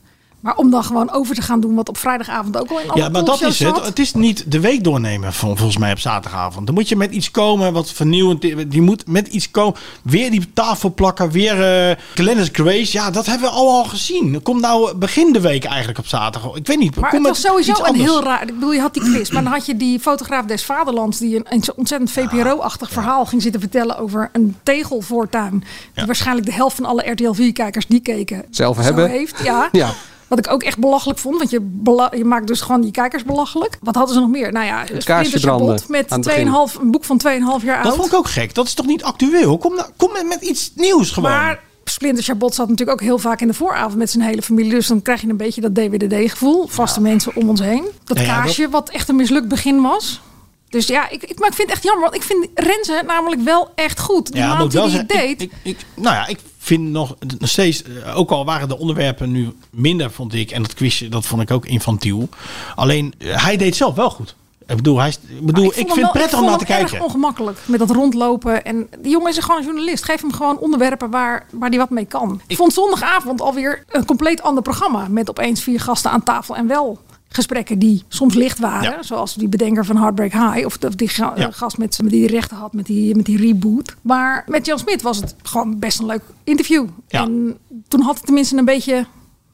Speaker 3: Maar om dan gewoon over te gaan doen wat op vrijdagavond ook al in alle
Speaker 2: Ja, maar dat
Speaker 3: talkshows
Speaker 2: is het.
Speaker 3: zat.
Speaker 2: Het is niet de week doornemen van, volgens mij op zaterdagavond. Dan moet je met iets komen wat vernieuwend is. Die moet met iets komen. Weer die tafel plakken. Weer eh Glennis Grace. Ja, dat hebben we allemaal gezien. Kom nou begin de week eigenlijk op zaterdag. Ik weet niet.
Speaker 3: Maar
Speaker 2: kom
Speaker 3: het was
Speaker 2: met
Speaker 3: sowieso
Speaker 2: iets
Speaker 3: een
Speaker 2: anders.
Speaker 3: heel raar. Ik bedoel, je had die quiz, maar dan had je die fotograaf des Vaderlands die een, een zo ontzettend VPRO-achtig verhaal ging zitten vertellen over een tegelvoortuin. Die waarschijnlijk de helft van alle RTL 4-kijkers die keken
Speaker 1: Zelf
Speaker 3: zo
Speaker 1: hebben.
Speaker 3: heeft. Ja.
Speaker 1: Ja.
Speaker 3: Wat ik ook echt belachelijk vond. Want je, bela- je maakt dus gewoon die kijkers belachelijk. Wat hadden ze nog meer? Nou ja, Splinter
Speaker 1: branden
Speaker 3: Chabot
Speaker 1: aan
Speaker 3: met
Speaker 1: het begin.
Speaker 3: 2,5 een boek van 2,5 jaar
Speaker 2: Dat
Speaker 3: oud.
Speaker 2: vond ik ook gek. Dat is toch niet actueel? Kom, nou, kom met, met iets nieuws gewoon.
Speaker 3: Maar Splinter Chabot zat natuurlijk ook heel vaak in de vooravond met zijn hele familie. Dus dan krijg je een beetje dat DWDD-gevoel. Vaste mensen om ons heen. Dat
Speaker 2: Ja, ja, dat-
Speaker 3: kaasje, wat echt een mislukt begin was. Dus ja, ik, ik, maar ik vind het echt jammer. Want ik vind Renze namelijk wel echt goed. Die maand die hij
Speaker 2: zeggen,
Speaker 3: deed.
Speaker 2: Ik, ik, ik- nou ja, ik vind nog, nog steeds, eh, ook al waren de onderwerpen nu minder, vond ik. En dat quizje, dat vond ik ook infantiel. Alleen, eh, hij deed zelf wel goed. Ik bedoel, hij, is- ik, bedoel, ik,
Speaker 3: Nou, vond
Speaker 2: vind
Speaker 3: hem
Speaker 2: het
Speaker 3: wel-
Speaker 2: prettig om
Speaker 3: vond
Speaker 2: naar te
Speaker 3: hem erg
Speaker 2: kijken.
Speaker 3: ongemakkelijk met dat rondlopen. En die jongen is gewoon een journalist. Geef hem gewoon onderwerpen waar, waar hij wat mee kan. Ik vond zondagavond alweer een compleet ander programma. Met opeens vier gasten aan tafel en wel gesprekken die soms licht waren.
Speaker 2: Ja.
Speaker 3: Zoals die bedenker van Heartbreak High. Of die ga- eh,
Speaker 2: Ja.
Speaker 3: gast met, met die die rechten had met die, met die reboot. Maar met Jan Smit was het gewoon best een leuk interview.
Speaker 2: Ja.
Speaker 3: En toen had het tenminste een beetje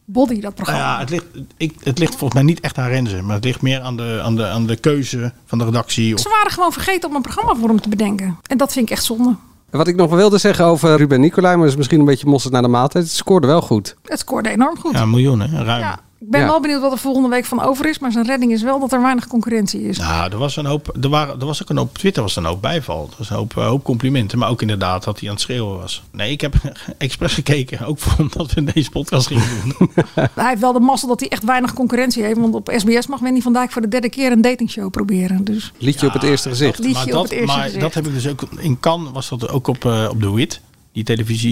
Speaker 3: body, dat
Speaker 2: Nou
Speaker 3: programma.
Speaker 2: ja, het ligt, ik, het ligt volgens mij niet echt aan Renze. Maar het ligt meer aan de, aan de, aan de keuze van de redactie. Of,
Speaker 3: Ze waren gewoon vergeten om een programma voor hem te bedenken. En dat vind ik echt zonde.
Speaker 1: Wat ik nog wilde zeggen over Ruben Nicolai, maar dat is misschien een beetje mosterd naar de maaltijd. Het scoorde wel goed.
Speaker 3: Het scoorde enorm goed.
Speaker 2: ja, miljoenen, hè, ruim.
Speaker 3: Ja, ik ben
Speaker 1: Ja.
Speaker 3: wel benieuwd wat er volgende week van over is. Maar zijn redding is wel dat er weinig concurrentie is.
Speaker 2: Nou, er was, een hoop, er, waren, er was ook een hoop, op Twitter was er een hoop bijval. Er was een hoop, eh, hoop complimenten, maar ook inderdaad dat hij aan het schreeuwen was. Nee, ik heb expres gekeken, ook voor- omdat we deze podcast gingen doen.
Speaker 3: Hij heeft wel de mazzel dat hij echt weinig concurrentie heeft. Want op SBS mag Wendy van Dijk voor de derde keer een datingshow proberen. Dus
Speaker 1: Liedje op het eerste gezicht.
Speaker 3: Liedje
Speaker 2: maar
Speaker 3: op
Speaker 2: dat,
Speaker 3: het eerste
Speaker 2: maar
Speaker 3: gezicht.
Speaker 2: dat heb ik dus ook, in Cannes was dat ook op, eh, op de WIT, die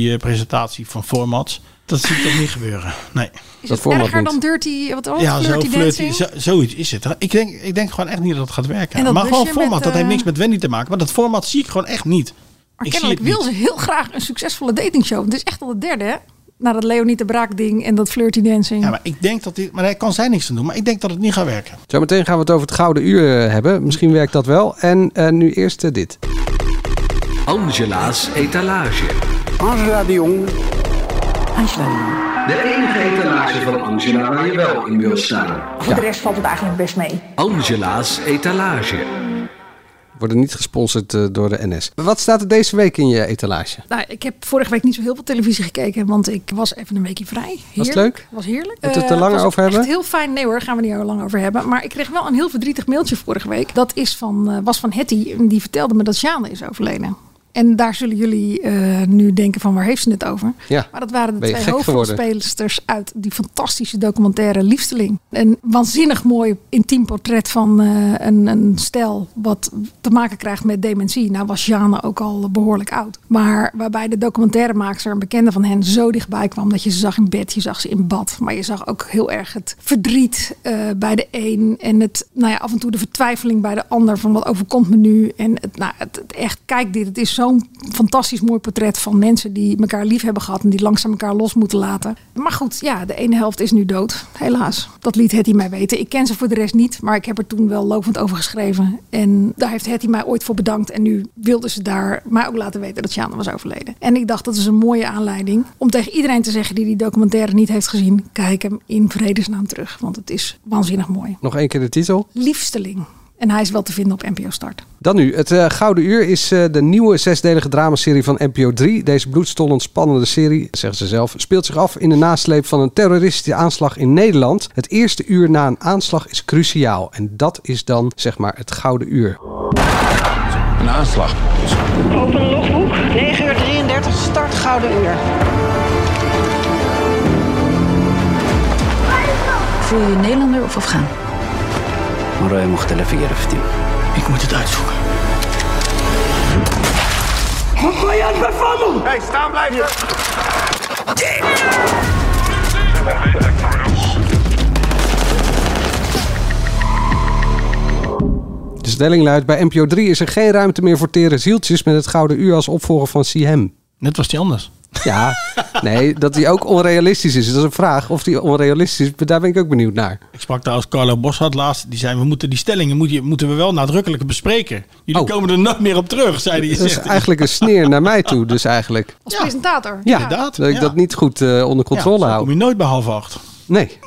Speaker 2: televisiepresentatie van Formats. Dat zie ik toch niet gebeuren, nee.
Speaker 3: is
Speaker 1: Dat
Speaker 3: het
Speaker 1: format
Speaker 3: erger
Speaker 1: niet.
Speaker 3: dan Dirty, wat was
Speaker 2: Ja,
Speaker 3: het?
Speaker 2: zo
Speaker 3: Dirty
Speaker 2: flirty,
Speaker 3: Dancing?
Speaker 2: zo- zoiets is het. Ik denk, ik denk gewoon echt niet dat het gaat
Speaker 3: En
Speaker 2: werken.
Speaker 3: dat
Speaker 2: Maar gewoon
Speaker 3: busje
Speaker 2: Format,
Speaker 3: met,
Speaker 2: dat heeft
Speaker 3: eh,
Speaker 2: niks met Wendy te maken. Maar dat Format zie ik gewoon echt niet.
Speaker 3: Maar
Speaker 2: Ik zie
Speaker 3: kennelijk
Speaker 2: het niet.
Speaker 3: wil ze heel graag een succesvolle datingshow. Het is echt al de derde, hè? Na dat Leonie de Braak ding en dat flirty dancing.
Speaker 2: Ja, maar ik denk dat dit, maar daar kan zij niks aan doen. Maar ik denk dat het niet gaat werken.
Speaker 1: Zometeen gaan we het over het gouden uur eh, hebben. Misschien werkt dat wel. En eh, nu eerst eh, dit.
Speaker 8: Angela's etalage.
Speaker 9: Angela de Jong.
Speaker 8: De enige etalage van Angela waar je wel in wilt staan.
Speaker 1: Voor de
Speaker 8: rest valt het eigenlijk best mee. Angela's etalage.
Speaker 1: Worden niet gesponsord eh, door de NS. Wat staat er deze week in je etalage?
Speaker 3: Nou, ik heb vorige week niet zo heel veel televisie gekeken, want ik was even een weekje vrij. Heerlijk.
Speaker 1: leuk?
Speaker 3: Was heerlijk.
Speaker 1: Moeten we het er
Speaker 3: Eh,
Speaker 1: lang
Speaker 3: was ook
Speaker 1: over hebben?
Speaker 3: Echt heel fijn. Nee hoor, gaan we niet heel lang over hebben. Maar ik kreeg wel een heel verdrietig mailtje vorige week. Dat is van, eh, was van Hetty en die vertelde me dat Sjane is overleden. En daar zullen jullie eh, nu denken van waar heeft ze het over?
Speaker 1: Ja.
Speaker 3: Maar dat waren de
Speaker 1: Ben je
Speaker 3: twee
Speaker 1: gek geworden?
Speaker 3: hoofdrolspelsters uit die fantastische documentaire Liefsteling. Een waanzinnig mooi intiem portret van eh, een, een stijl wat te maken krijgt met dementie. Nou was Jana ook al behoorlijk oud. Maar waarbij de documentairemaakster, een bekende van hen, zo dichtbij kwam dat je ze zag in bed, je zag ze in bad. Maar je zag ook heel erg het verdriet eh, bij de een en het, nou ja, af en toe de vertwijfeling bij de ander van wat overkomt me nu. En het, nou, het, het echt, kijk dit, het is zo'n fantastisch mooi portret van mensen die elkaar lief hebben gehad en die langzaam elkaar los moeten laten. Maar goed, ja, de ene helft is nu dood, helaas. Dat liet Hetty mij weten. Ik ken ze voor de rest niet, maar ik heb er toen wel lovend over geschreven. En daar heeft Hetty mij ooit voor bedankt. En nu wilde ze daar mij ook laten weten dat Sjana was overleden. En ik dacht, dat is een mooie aanleiding om tegen iedereen te zeggen die die documentaire niet heeft gezien, kijk hem in vredesnaam terug, want het is waanzinnig mooi.
Speaker 1: Nog één keer de titel.
Speaker 3: Liefsteling. En hij is wel te vinden op NPO Start.
Speaker 1: Dan nu. Het eh, Gouden Uur is eh, de nieuwe zesdelige dramaserie van NPO 3. Deze bloedstollend spannende serie, zeggen ze zelf, speelt zich af in de nasleep van een terroristische aanslag in Nederland. Het eerste uur na een aanslag is cruciaal. En dat is dan, zeg maar, het Gouden Uur.
Speaker 10: Een aanslag.
Speaker 5: Open logboek, 9 uur 33, start gouden uur.
Speaker 11: Voel je Nederlander of Afghaan?
Speaker 8: مراية مختلفة عرفتي
Speaker 2: Ik moet het uitzoeken.
Speaker 1: De stelling luidt, bij NPO 3 is er geen ruimte meer voor tere zieltjes met het Gouden Uur als opvolger van Siem.
Speaker 2: Net was die anders.
Speaker 1: Ja, nee, dat die ook onrealistisch is. Dat is een vraag of die onrealistisch is. maar Daar ben ik ook benieuwd naar.
Speaker 2: Ik sprak trouwens Carlo Boshart laatst. Die zei, we moeten die stellingen moet je- moeten we wel nadrukkelijk bespreken. Jullie
Speaker 1: Oh.
Speaker 2: komen er nooit meer op terug, zei Dus hij.
Speaker 1: Dat is eigenlijk een sneer naar mij toe, dus eigenlijk.
Speaker 3: Als
Speaker 2: Ja.
Speaker 3: presentator.
Speaker 1: Ja,
Speaker 2: Inderdaad,
Speaker 1: dat ik
Speaker 2: ja.
Speaker 1: dat niet goed eh, onder controle
Speaker 2: ja, zo
Speaker 1: hou.
Speaker 2: kom je nooit bij half acht.
Speaker 1: Nee.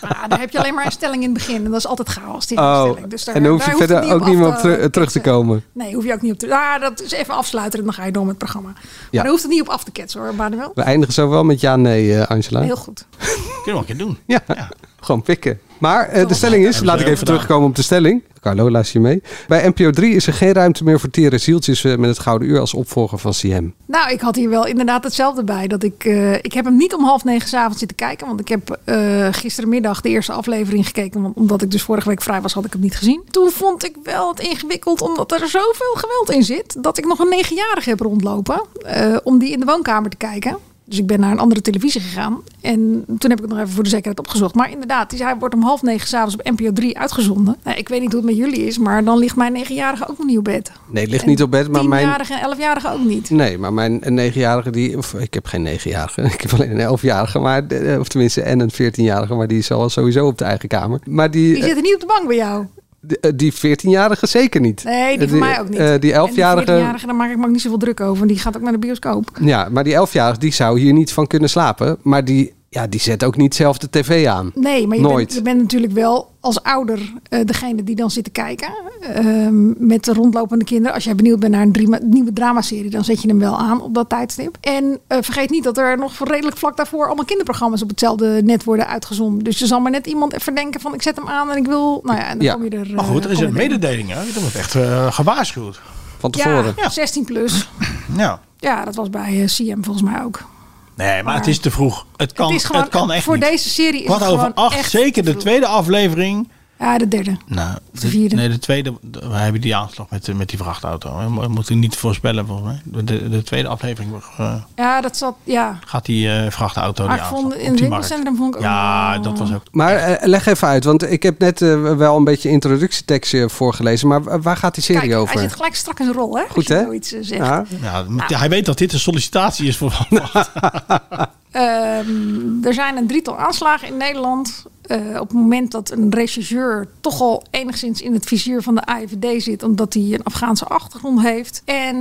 Speaker 3: Ah, daar heb je alleen maar een stelling in het begin. En dat is altijd chaos. Die
Speaker 1: Oh,
Speaker 3: stelling. Dus daar,
Speaker 1: en dan hoef
Speaker 3: daar
Speaker 1: je
Speaker 3: hoeft
Speaker 1: verder ook
Speaker 3: af
Speaker 1: niet meer
Speaker 3: te-
Speaker 1: op teru- terug te
Speaker 3: ketsen.
Speaker 1: komen.
Speaker 3: Nee, hoef je ook niet op te... Ah, dat is even afsluiten en dan ga je door met het programma. Maar
Speaker 1: Ja.
Speaker 3: daar hoeft het niet op af te ketsen hoor, maar wel.
Speaker 1: We eindigen zo wel met ja, nee, eh, Angela.
Speaker 3: Heel goed.
Speaker 2: we wel een keer doen.
Speaker 1: Ja,
Speaker 2: Ja.
Speaker 1: gewoon pikken. Maar eh, de stelling is,
Speaker 2: ze
Speaker 1: laat ik
Speaker 2: heel
Speaker 1: even
Speaker 2: gedaan.
Speaker 1: terugkomen op de stelling. Carlo, luister je mee. Bij NPO 3 is er geen ruimte meer voor Tere Zieltjes eh, met het Gouden Uur als opvolger van CM.
Speaker 3: Nou, ik had hier wel inderdaad hetzelfde bij. Dat ik, eh, ik heb hem niet om half negen s'avonds zitten kijken. Want ik heb eh, gistermiddag de eerste aflevering gekeken. Want omdat ik dus vorige week vrij was, had ik hem niet gezien. Toen vond ik wel het ingewikkeld, omdat er zoveel geweld in zit. Dat ik nog een negenjarige heb rondlopen. eh, om die in de woonkamer te kijken. Dus ik ben naar een andere televisie gegaan. En toen heb ik het nog even voor de zekerheid opgezocht. Maar inderdaad, die- hij wordt om half negen s'avonds op NPO 3 uitgezonden. Nou, ik weet niet hoe het met jullie is, maar dan ligt mijn negenjarige ook nog niet op bed.
Speaker 1: Nee, het ligt niet op bed, maar mijn...
Speaker 3: Tienjarige en elfjarige ook niet.
Speaker 1: Nee, maar mijn negenjarige die... Of, ik heb geen negenjarige, ik heb alleen een elfjarige. Maar, eh, of tenminste, en een veertienjarige. Maar die is al sowieso op de eigen kamer. Maar die,
Speaker 3: Die zitten niet op de bank bij jou.
Speaker 1: eh, eh, die veertienjarige zeker niet.
Speaker 3: Nee, die
Speaker 1: Eh,
Speaker 3: van mij ook niet.
Speaker 1: eh, die
Speaker 3: En die
Speaker 1: elfjarige...
Speaker 3: 14-jarige, daar maak ik me ook niet zoveel druk over. Die gaat ook naar de bioscoop.
Speaker 1: Ja, maar die elfjarige die zou hier niet van kunnen slapen. Maar die, ja, die zet ook niet zelf de tv aan.
Speaker 3: Nee, maar je,
Speaker 1: Nooit.
Speaker 3: Bent, je bent natuurlijk wel als ouder eh, degene die dan zit te kijken. ehm, met de rondlopende kinderen. Als jij benieuwd bent naar een drima- nieuwe dramaserie, dan zet je hem wel aan op dat tijdstip. En eh, vergeet niet dat er nog voor redelijk vlak daarvoor allemaal kinderprogramma's op hetzelfde net worden uitgezonden. Dus er zal maar net iemand even denken van ik zet hem aan en ik wil. Nou ja, en dan
Speaker 1: Ja.
Speaker 3: kom je er.
Speaker 2: Maar goed, er is een
Speaker 3: mede.
Speaker 2: mededeling. Hè? Dat wordt echt eh, gewaarschuwd.
Speaker 1: Van
Speaker 3: Ja,
Speaker 1: tevoren.
Speaker 2: Ja.
Speaker 3: 16 plus.
Speaker 2: Ja.
Speaker 3: Ja, dat was bij eh, CM volgens mij ook.
Speaker 2: Nee, maar het is te vroeg. Het kan,
Speaker 3: het
Speaker 2: het
Speaker 3: is gewoon,
Speaker 2: kan echt
Speaker 3: voor
Speaker 2: niet.
Speaker 3: deze serie is
Speaker 2: Kwart
Speaker 3: het
Speaker 2: over
Speaker 3: gewoon
Speaker 2: acht,
Speaker 3: echt
Speaker 2: zeker
Speaker 3: te
Speaker 2: de
Speaker 3: vroeg.
Speaker 2: tweede aflevering.
Speaker 3: Ja, de derde.
Speaker 2: Nou,
Speaker 3: de vierde.
Speaker 2: Nee, de tweede. We hebben die aanslag met, eh, met die vrachtauto. hè. Mo- Moet ik niet voorspellen volgens mij. De, de tweede aflevering eh,
Speaker 3: Ja, dat zat, ja.
Speaker 2: gaat die eh, vrachtauto
Speaker 3: Maar
Speaker 2: die
Speaker 3: ik
Speaker 2: aanslag
Speaker 3: vond
Speaker 2: op
Speaker 3: in het
Speaker 2: die markt.
Speaker 3: winkelcentrum vond ik ook
Speaker 2: Ja,
Speaker 3: wel-
Speaker 2: dat was ook.
Speaker 1: Maar eh, leg even uit, want ik heb net eh, wel een beetje introductietekstje voorgelezen. Maar wa- waar gaat die serie
Speaker 3: Kijk,
Speaker 1: over?
Speaker 3: hij zit gelijk strak in zijn rol, hè? als
Speaker 1: Goed,
Speaker 3: je
Speaker 1: hè?
Speaker 3: Zoiets eh, zegt.
Speaker 1: Ja.
Speaker 2: Ja, met- Hij weet dat dit een sollicitatie is voor.
Speaker 3: Ehm, er zijn een drietal aanslagen in Nederland. Eh, op het moment dat een rechercheur toch al enigszins in het vizier van de AIVD zit, omdat hij een Afghaanse achtergrond heeft. En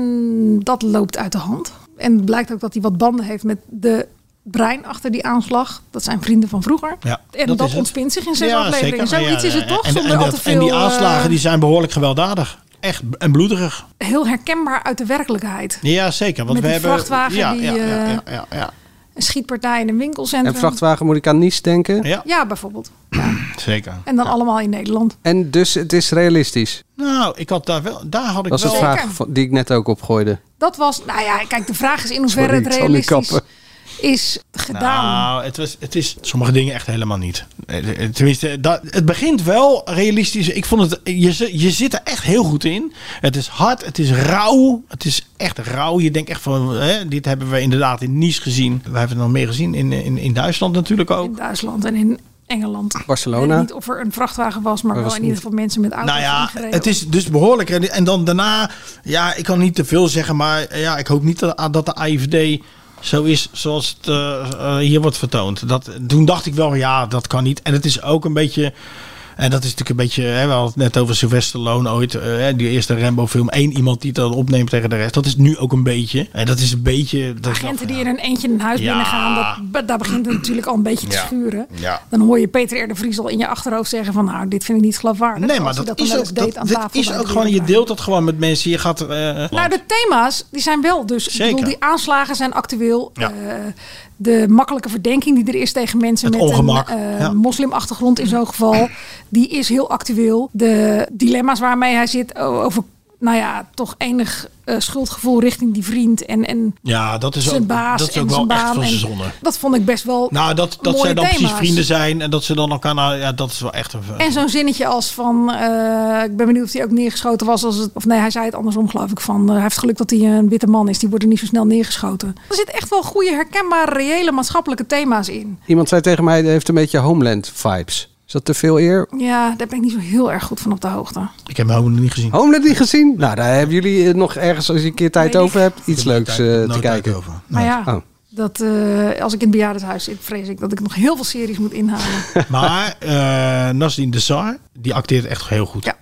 Speaker 3: dat loopt uit de hand. En het blijkt ook dat hij wat banden heeft met de brein achter die aanslag. Dat zijn vrienden van vroeger.
Speaker 2: Ja,
Speaker 3: en
Speaker 2: dat
Speaker 3: dat,
Speaker 2: is het.
Speaker 3: ontspint zich in zes
Speaker 2: Ja,
Speaker 3: afleveringen.
Speaker 2: zeker.
Speaker 3: Zoiets
Speaker 2: Ja,
Speaker 3: is het
Speaker 2: ja,
Speaker 3: toch?
Speaker 2: en-
Speaker 3: Zonder
Speaker 2: en
Speaker 3: al
Speaker 2: dat-
Speaker 3: te veel,
Speaker 2: En die
Speaker 3: eh,
Speaker 2: aanslagen die zijn behoorlijk gewelddadig. Echt b- en bloederig.
Speaker 3: heel herkenbaar uit de werkelijkheid.
Speaker 2: Ja, zeker. Want
Speaker 3: Met
Speaker 2: we
Speaker 3: die
Speaker 2: hebben.
Speaker 3: vrachtwagen
Speaker 2: ja,
Speaker 3: die,
Speaker 2: ja, ja,
Speaker 3: eh,
Speaker 2: ja, ja, ja,
Speaker 3: Een schietpartij in een winkelcentrum.
Speaker 1: En vrachtwagen moet ik aan Nice denken.
Speaker 2: ja,
Speaker 3: Ja, bijvoorbeeld.
Speaker 2: zeker.
Speaker 3: En dan allemaal in Nederland.
Speaker 1: En dus het is realistisch.
Speaker 2: Nou, ik had daar wel. Daar had ik
Speaker 1: Dat is
Speaker 2: wel.
Speaker 1: de vraag van- die ik net ook opgooide.
Speaker 3: Dat was, nou ja, kijk, de vraag is in hoeverre
Speaker 1: Sorry, ik
Speaker 3: het
Speaker 1: zal nu
Speaker 3: realistisch
Speaker 1: kappen.
Speaker 3: is gedaan.
Speaker 2: Nou, het, was, het is sommige dingen echt helemaal niet. Eh, eh, Tenminste, dat, het begint wel realistisch. Ik vond het, je, zi- je zit er echt heel goed in. Het is hard, het is rauw. Het is echt rauw. Je denkt echt van, hè, dit hebben we inderdaad in Nice gezien. We hebben het nog meer gezien in, in, in Duitsland natuurlijk ook.
Speaker 3: in Duitsland en in Engeland. Ik
Speaker 1: Barcelona.
Speaker 3: weet niet of er een vrachtwagen was, maar
Speaker 1: Maar
Speaker 3: wel
Speaker 1: was
Speaker 3: in ieder
Speaker 1: niet-
Speaker 3: geval mensen met auto's
Speaker 2: Nou ja,
Speaker 3: aangereden.
Speaker 2: het is dus behoorlijk. En- En dan daarna, ja, ik kan niet te veel zeggen, maar eh, ja, ik hoop niet dat, dat de AIVD zo is zoals het eh, eh, hier wordt vertoond. Dat, toen dacht ik wel, ja, dat kan niet. En het is ook een beetje. En dat is natuurlijk een beetje, hè, we hadden het net over Sylvester Stallone ooit, eh, hè, die eerste Rambo-film. Eén iemand die dat opneemt tegen de rest. Dat is nu ook een beetje. En dat is een beetje. Dat is
Speaker 3: Agenten
Speaker 2: wel-
Speaker 3: die in een eentje in een huis
Speaker 2: Ja.
Speaker 3: binnengaan, dat, be- daar begint het natuurlijk al een beetje te
Speaker 2: Ja.
Speaker 3: schuren.
Speaker 2: Ja.
Speaker 3: Dan hoor je Peter R. de Vries al in je achterhoofd zeggen van, nou, dit vind ik niet geloofwaardig.
Speaker 2: Nee, maar
Speaker 3: Als hij
Speaker 2: dat,
Speaker 3: dan
Speaker 2: is
Speaker 3: wel eens
Speaker 2: ook, dat,
Speaker 3: deed aan
Speaker 2: dat
Speaker 3: tafel
Speaker 2: is
Speaker 3: bij
Speaker 2: ook
Speaker 3: de
Speaker 2: gewoon, je
Speaker 3: dierentuin.
Speaker 2: deelt dat gewoon met mensen. Je gaat. eh,
Speaker 3: Nou, de thema's die zijn wel dus. Ik
Speaker 2: Zeker.
Speaker 3: bedoel, die aanslagen zijn actueel.
Speaker 2: Ja.
Speaker 3: Eh, de makkelijke verdenking die er is tegen mensen
Speaker 2: Het
Speaker 3: met
Speaker 2: ongemak,
Speaker 3: een eh,
Speaker 2: ja.
Speaker 3: moslimachtergrond in zo'n geval, die is heel actueel. De dilemma's waarmee hij zit o- over, nou ja, toch enig eh, schuldgevoel richting die vriend en, en
Speaker 2: ja, dat is
Speaker 3: zijn
Speaker 2: ook,
Speaker 3: baas
Speaker 2: dat is
Speaker 3: en
Speaker 2: ook wel
Speaker 3: zijn
Speaker 2: echt
Speaker 3: baan.
Speaker 2: van
Speaker 3: en
Speaker 2: zijn zonne.
Speaker 3: Dat vond ik best wel.
Speaker 2: Nou, dat, dat
Speaker 3: mooie
Speaker 2: zij dan precies
Speaker 3: thema's.
Speaker 2: vrienden zijn en dat ze dan elkaar, nou, ja, dat is wel echt een.
Speaker 3: En zo'n zinnetje als van, eh, ik ben benieuwd of hij ook neergeschoten was als het, of nee, hij zei het andersom geloof ik, van eh, hij heeft geluk dat hij een witte man is, die wordt er niet zo snel neergeschoten. Er zitten echt wel goede, herkenbare, reële maatschappelijke thema's in.
Speaker 1: Iemand zei tegen mij, het heeft een beetje Homeland vibes. Is dat te veel eer?
Speaker 3: Ja, daar ben ik niet zo heel erg goed van op de hoogte.
Speaker 2: ik heb hem helemaal niet gezien.
Speaker 1: Homeland niet gezien? Nou, daar hebben jullie eh, nog ergens, als je een keer tijd
Speaker 3: Weet ik.
Speaker 1: over hebt, iets leuks eh, te
Speaker 2: Nooit
Speaker 1: kijken.
Speaker 2: over.
Speaker 3: Maar ja,
Speaker 1: Oh.
Speaker 3: dat, eh, als ik in het bejaardenhuis zit, vrees ik dat ik nog heel veel series moet inhalen.
Speaker 2: Maar eh Nasdien de Saar, die acteert echt heel goed.
Speaker 3: Ja.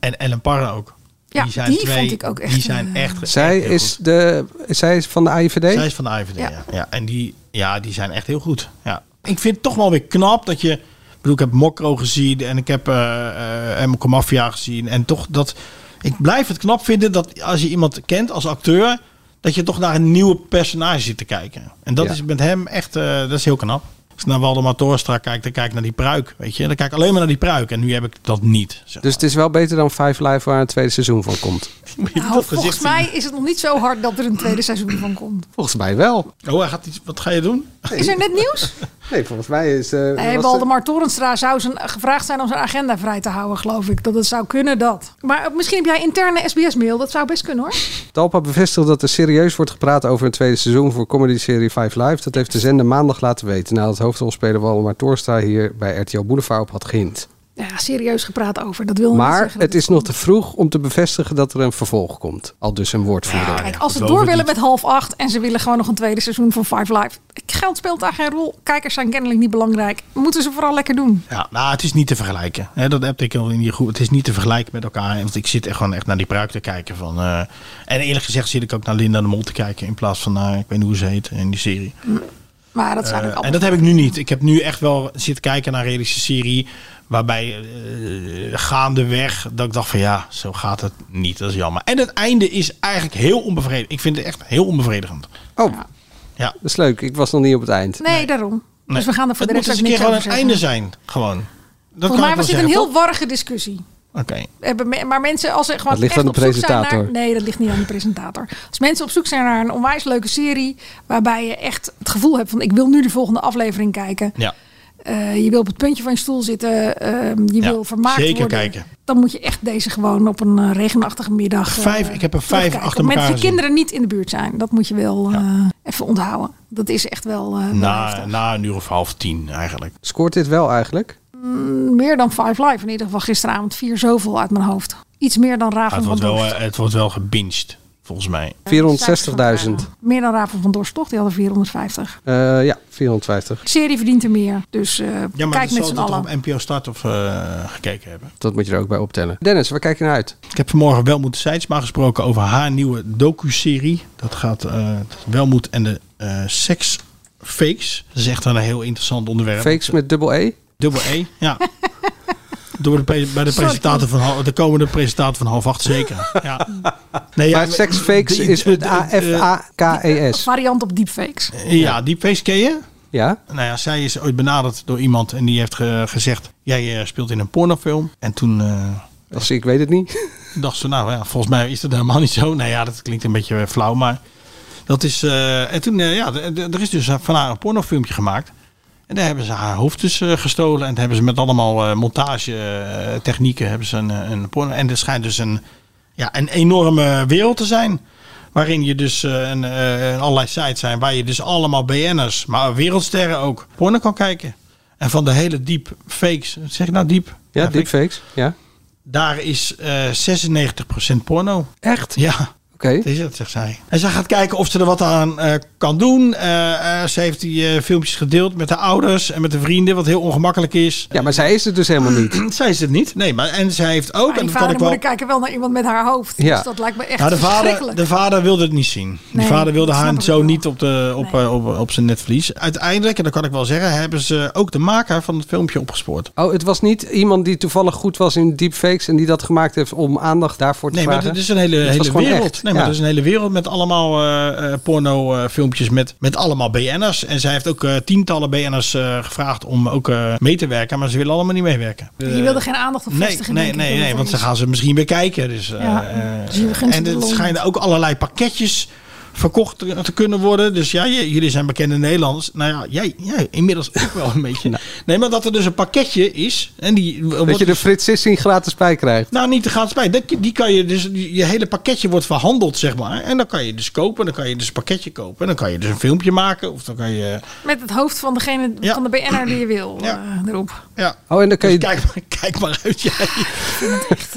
Speaker 2: En Ellen Parra ook.
Speaker 3: Ja, die vond ik ook echt,
Speaker 2: Die zijn
Speaker 3: eh,
Speaker 2: echt.
Speaker 1: Zij
Speaker 2: echt heel
Speaker 1: is,
Speaker 2: goed.
Speaker 1: de, zij is van de AIVD?
Speaker 2: Zij is van de IVD. Ja.
Speaker 3: Ja.
Speaker 2: Ja. En die, ja, die zijn echt heel goed. Ja. Ik vind het toch wel weer knap dat je. Ik bedoel, ik heb Mokro gezien en ik heb eh eh Emmerke Mafia gezien. En toch dat. Ik blijf het knap vinden dat als je iemand kent als acteur. dat je toch naar een nieuwe personage zit te kijken. En dat
Speaker 1: Ja.
Speaker 2: is met hem echt. eh, dat is heel knap. Als ik naar Waldemar Torstra kijk, dan kijk ik naar die pruik. Weet je? Dan kijk ik alleen maar naar die pruik. En nu heb ik dat niet. Zeg
Speaker 1: Dus het is wel beter dan Five Live waar een tweede seizoen van komt.
Speaker 2: maar.
Speaker 3: Nou,
Speaker 2: Dat gezicht
Speaker 3: volgens
Speaker 2: zien.
Speaker 3: mij is het nog niet zo hard dat er een tweede seizoen van komt.
Speaker 1: Volgens mij wel.
Speaker 2: Oh, hij gaat iets, wat ga je doen?
Speaker 3: Is er net nieuws?
Speaker 1: Nee, volgens mij is... eh, was
Speaker 3: Nee,
Speaker 1: de-
Speaker 3: Waldemar Torenstra zou zijn, eh, gevraagd zijn om zijn agenda vrij te houden, geloof ik. Dat het zou kunnen, dat. Maar eh, misschien heb jij interne SBS-mail. Dat zou best kunnen, hoor.
Speaker 1: Talpa bevestigt dat er serieus wordt gepraat over een tweede seizoen voor comedy-serie Five Live. Dat heeft de zender maandag laten weten nadat hoofdrolspeler Waldemar Torstra hier bij RTL Boulevard op had gehind.
Speaker 3: Ja, serieus gepraat over. Dat wil niet
Speaker 1: Maar
Speaker 3: zeggen dat
Speaker 1: het is nog te vroeg om te bevestigen dat er een vervolg komt. Al dus een woordvoerder.
Speaker 3: Kijk, als ze
Speaker 2: geloof
Speaker 3: door
Speaker 2: het
Speaker 3: willen met half acht en ze willen gewoon nog een tweede seizoen van Five Live. Geld speelt daar geen rol. Kijkers zijn kennelijk niet belangrijk. Moeten ze vooral lekker doen.
Speaker 2: Ja, nou, het is niet te vergelijken. Hè, dat heb ik al in die groep. Het is niet te vergelijken met elkaar. Want ik zit echt gewoon echt naar die pruik te kijken. Van, eh, en eerlijk gezegd zit ik ook naar Linda de Mol te kijken. In plaats van naar, ik weet niet hoe ze heet, eh, in die serie.
Speaker 3: Maar dat zijn ook
Speaker 2: Eh, en
Speaker 3: allemaal.
Speaker 2: dat heb ik nu niet. Ik heb nu echt wel zitten kijken naar een realistische serie. Waarbij eh, gaandeweg dat ik dacht van ja, zo gaat het niet. Dat is jammer. En het einde is eigenlijk heel onbevredigend. Ik vind het echt heel onbevredigend.
Speaker 1: Oh,
Speaker 2: Ja.
Speaker 1: dat is leuk. Ik was nog niet op het eind.
Speaker 3: Nee, daarom. Dus we gaan er voor
Speaker 2: het
Speaker 3: de
Speaker 2: moet
Speaker 3: rest
Speaker 2: eens een
Speaker 3: ook
Speaker 2: keer
Speaker 3: niks
Speaker 2: gewoon
Speaker 3: over
Speaker 2: het
Speaker 3: zeggen.
Speaker 2: einde zijn. Gewoon. Dat
Speaker 3: Volgens mij
Speaker 2: kan
Speaker 3: was
Speaker 2: ik
Speaker 3: dit
Speaker 2: wel zeggen,
Speaker 3: een heel warrige discussie.
Speaker 2: toch? Oké.
Speaker 3: Hebben me- Maar mensen, als ze gewoon
Speaker 1: Dat ligt
Speaker 3: echt
Speaker 1: aan de
Speaker 3: op zoek zijn
Speaker 1: presentator.
Speaker 3: Naar, nee, dat ligt niet aan de presentator. Als mensen op zoek zijn naar een onwijs leuke serie... waarbij je echt het gevoel hebt van... ik wil nu de volgende aflevering kijken.
Speaker 2: Ja.
Speaker 3: Eh, je wil op het puntje van je stoel zitten. ehm, je
Speaker 2: Ja,
Speaker 3: wil vermaakt
Speaker 2: zeker
Speaker 3: worden.
Speaker 2: kijken.
Speaker 3: Dan moet je echt deze gewoon op een eh, regenachtige middag. eh,
Speaker 2: Vijf- ik heb er vijf
Speaker 3: terugkijken.
Speaker 2: achter
Speaker 3: Op het moment
Speaker 2: elkaar
Speaker 3: dat je
Speaker 2: gezien.
Speaker 3: kinderen niet in de buurt zijn. Dat moet je wel eh, even onthouden. Dat is echt wel. eh, wel
Speaker 2: Na,
Speaker 3: heftig.
Speaker 2: na een uur of half tien eigenlijk.
Speaker 1: Scoort dit wel eigenlijk?
Speaker 3: Meer dan Five Live. In ieder geval gisteravond vier zoveel uit mijn hoofd. Iets meer dan
Speaker 2: Ah,
Speaker 3: Raven
Speaker 2: het,
Speaker 3: van
Speaker 2: wordt
Speaker 3: Dorst.
Speaker 2: wel, eh, het wordt wel gebinged, volgens mij.
Speaker 1: 460.000.
Speaker 3: Meer dan Raven van Dorst, toch? Die hadden 450.
Speaker 1: Eh, ja, 450.
Speaker 3: De serie verdient er meer. Dus eh,
Speaker 2: Ja, maar
Speaker 3: kijk
Speaker 2: dat
Speaker 3: met
Speaker 2: zal
Speaker 3: z'n
Speaker 2: dat
Speaker 3: allen.
Speaker 2: op NPO Start of eh, gekeken hebben.
Speaker 1: Dat moet je er ook bij optellen. Dennis, waar kijk je naar uit?
Speaker 2: Ik heb vanmorgen Welmoed Seidsma gesproken over haar nieuwe docu-serie. Dat gaat eh, Welmoed en de eh seks fakes. Dat is echt een heel interessant onderwerp.
Speaker 1: Fakes met dubbel E?
Speaker 2: Dubbel E, ja. Door de, pre- bij de, presentator van, hal- de komende presentator van half acht zeker. Ja. Nee,
Speaker 1: Maar seksfakes
Speaker 2: die-
Speaker 1: is met
Speaker 2: eh, eh,
Speaker 1: A-F-A-K-E-S.
Speaker 3: Variant op deepfakes.
Speaker 2: Ja, die face ken je?
Speaker 1: Ja?
Speaker 2: Nou ja, zij is ooit benaderd door iemand en die heeft ge- gezegd: Jij eh, speelt in een pornofilm. En toen eh,
Speaker 1: Dat zie ik weet het niet.
Speaker 2: dacht ze: Nou ja, volgens mij is dat helemaal niet zo. Nou ja, dat klinkt een beetje eh, flauw, maar dat is. eh, en toen, eh, ja, d- d- er is dus van haar een pornofilmpje gemaakt. En daar hebben ze haar hoofd dus eh, gestolen. En daar hebben ze met allemaal eh, montage montagetechnieken hebben ze een, eh, een porno. En er schijnt dus een, ja, een enorme wereld te zijn. Waarin je dus eh, een, eh, een allerlei sites zijn. Waar je dus allemaal BN'ers, maar wereldsterren ook, porno kan kijken. En van de hele deep fakes. Zeg ik nou diep?
Speaker 1: Ja, deepfakes. Ja.
Speaker 2: Daar is eh 96% porno.
Speaker 1: Echt?
Speaker 2: Ja.
Speaker 1: Oké.
Speaker 2: Dat is het, zegt zij. En zij gaat kijken of ze er wat aan eh, kan doen. Eh, eh, ze heeft die eh, filmpjes gedeeld met de ouders en met de vrienden, wat heel ongemakkelijk is.
Speaker 1: Ja, maar zij is het dus helemaal niet.
Speaker 2: Zij is het niet. Nee, maar en zij heeft ook.
Speaker 3: Maar
Speaker 2: en dat
Speaker 3: die
Speaker 2: kan
Speaker 3: vader
Speaker 2: ik
Speaker 3: en moeder
Speaker 2: wel.
Speaker 3: kijken wel naar iemand met haar hoofd.
Speaker 1: Ja.
Speaker 3: Dus dat lijkt me echt
Speaker 2: Nou, de vader,
Speaker 3: verschrikkelijk.
Speaker 2: de vader wilde het niet zien.
Speaker 3: Nee,
Speaker 2: de vader wilde
Speaker 3: dat snap
Speaker 2: haar
Speaker 3: ik
Speaker 2: zo
Speaker 3: wel.
Speaker 2: niet op, de, op, eh, op, op zijn netvlies. Uiteindelijk, en dat kan ik wel zeggen, hebben ze ook de maker van het filmpje opgespoord.
Speaker 1: Oh, het was niet iemand die toevallig goed was in deepfakes en die dat gemaakt heeft om aandacht daarvoor te
Speaker 2: Nee, maar
Speaker 1: vragen. Dus
Speaker 2: dit is een hele,
Speaker 1: was
Speaker 2: hele
Speaker 1: gewoon
Speaker 2: wereld.
Speaker 1: echt,
Speaker 2: Nee, maar
Speaker 1: ja.
Speaker 2: er is een hele wereld met allemaal eh, eh, porno eh, filmpjes met, met allemaal BN'ers. En zij heeft ook eh, tientallen BN'ers eh, gevraagd om ook eh, mee te werken, maar ze willen allemaal niet meewerken.
Speaker 1: Eh,
Speaker 3: Je wilde geen aandacht op
Speaker 2: eh, Nee,
Speaker 3: vestigen.
Speaker 2: nee,
Speaker 3: denk ik,
Speaker 2: nee,
Speaker 3: dat
Speaker 2: nee,
Speaker 3: het
Speaker 2: want
Speaker 3: er
Speaker 2: ze
Speaker 3: is.
Speaker 2: gaan ze misschien weer kijken. Dus, eh,
Speaker 3: Ja,
Speaker 2: eh,
Speaker 3: dus je gunt ze
Speaker 2: en
Speaker 3: de
Speaker 2: er
Speaker 3: lol.
Speaker 2: schijnen ook allerlei pakketjes verkocht te te kunnen worden. Dus ja, j- jullie zijn bekende Nederlanders. Nou ja, jij, jij inmiddels ook wel een beetje. Nee, maar dat er dus een pakketje is. En die
Speaker 1: Nou. Dat
Speaker 2: wordt
Speaker 1: je de Frits Sissing gratis bij krijgt.
Speaker 2: nou, niet te gaan spijt. Dat, die kan je dus, je hele pakketje wordt verhandeld, zeg maar. En dan kan je dus kopen, dan kan je dus een pakketje kopen. En dan kan je dus een filmpje maken. Of dan kan je.
Speaker 3: Met het hoofd van degene
Speaker 2: Ja.
Speaker 3: van de BN'er die je wil
Speaker 2: Ja.
Speaker 3: eh, erop.
Speaker 2: Ja.
Speaker 1: Oh, en dan kan
Speaker 2: Dus
Speaker 1: je,
Speaker 2: kijk, maar, kijk maar uit. Jij.
Speaker 3: Echt,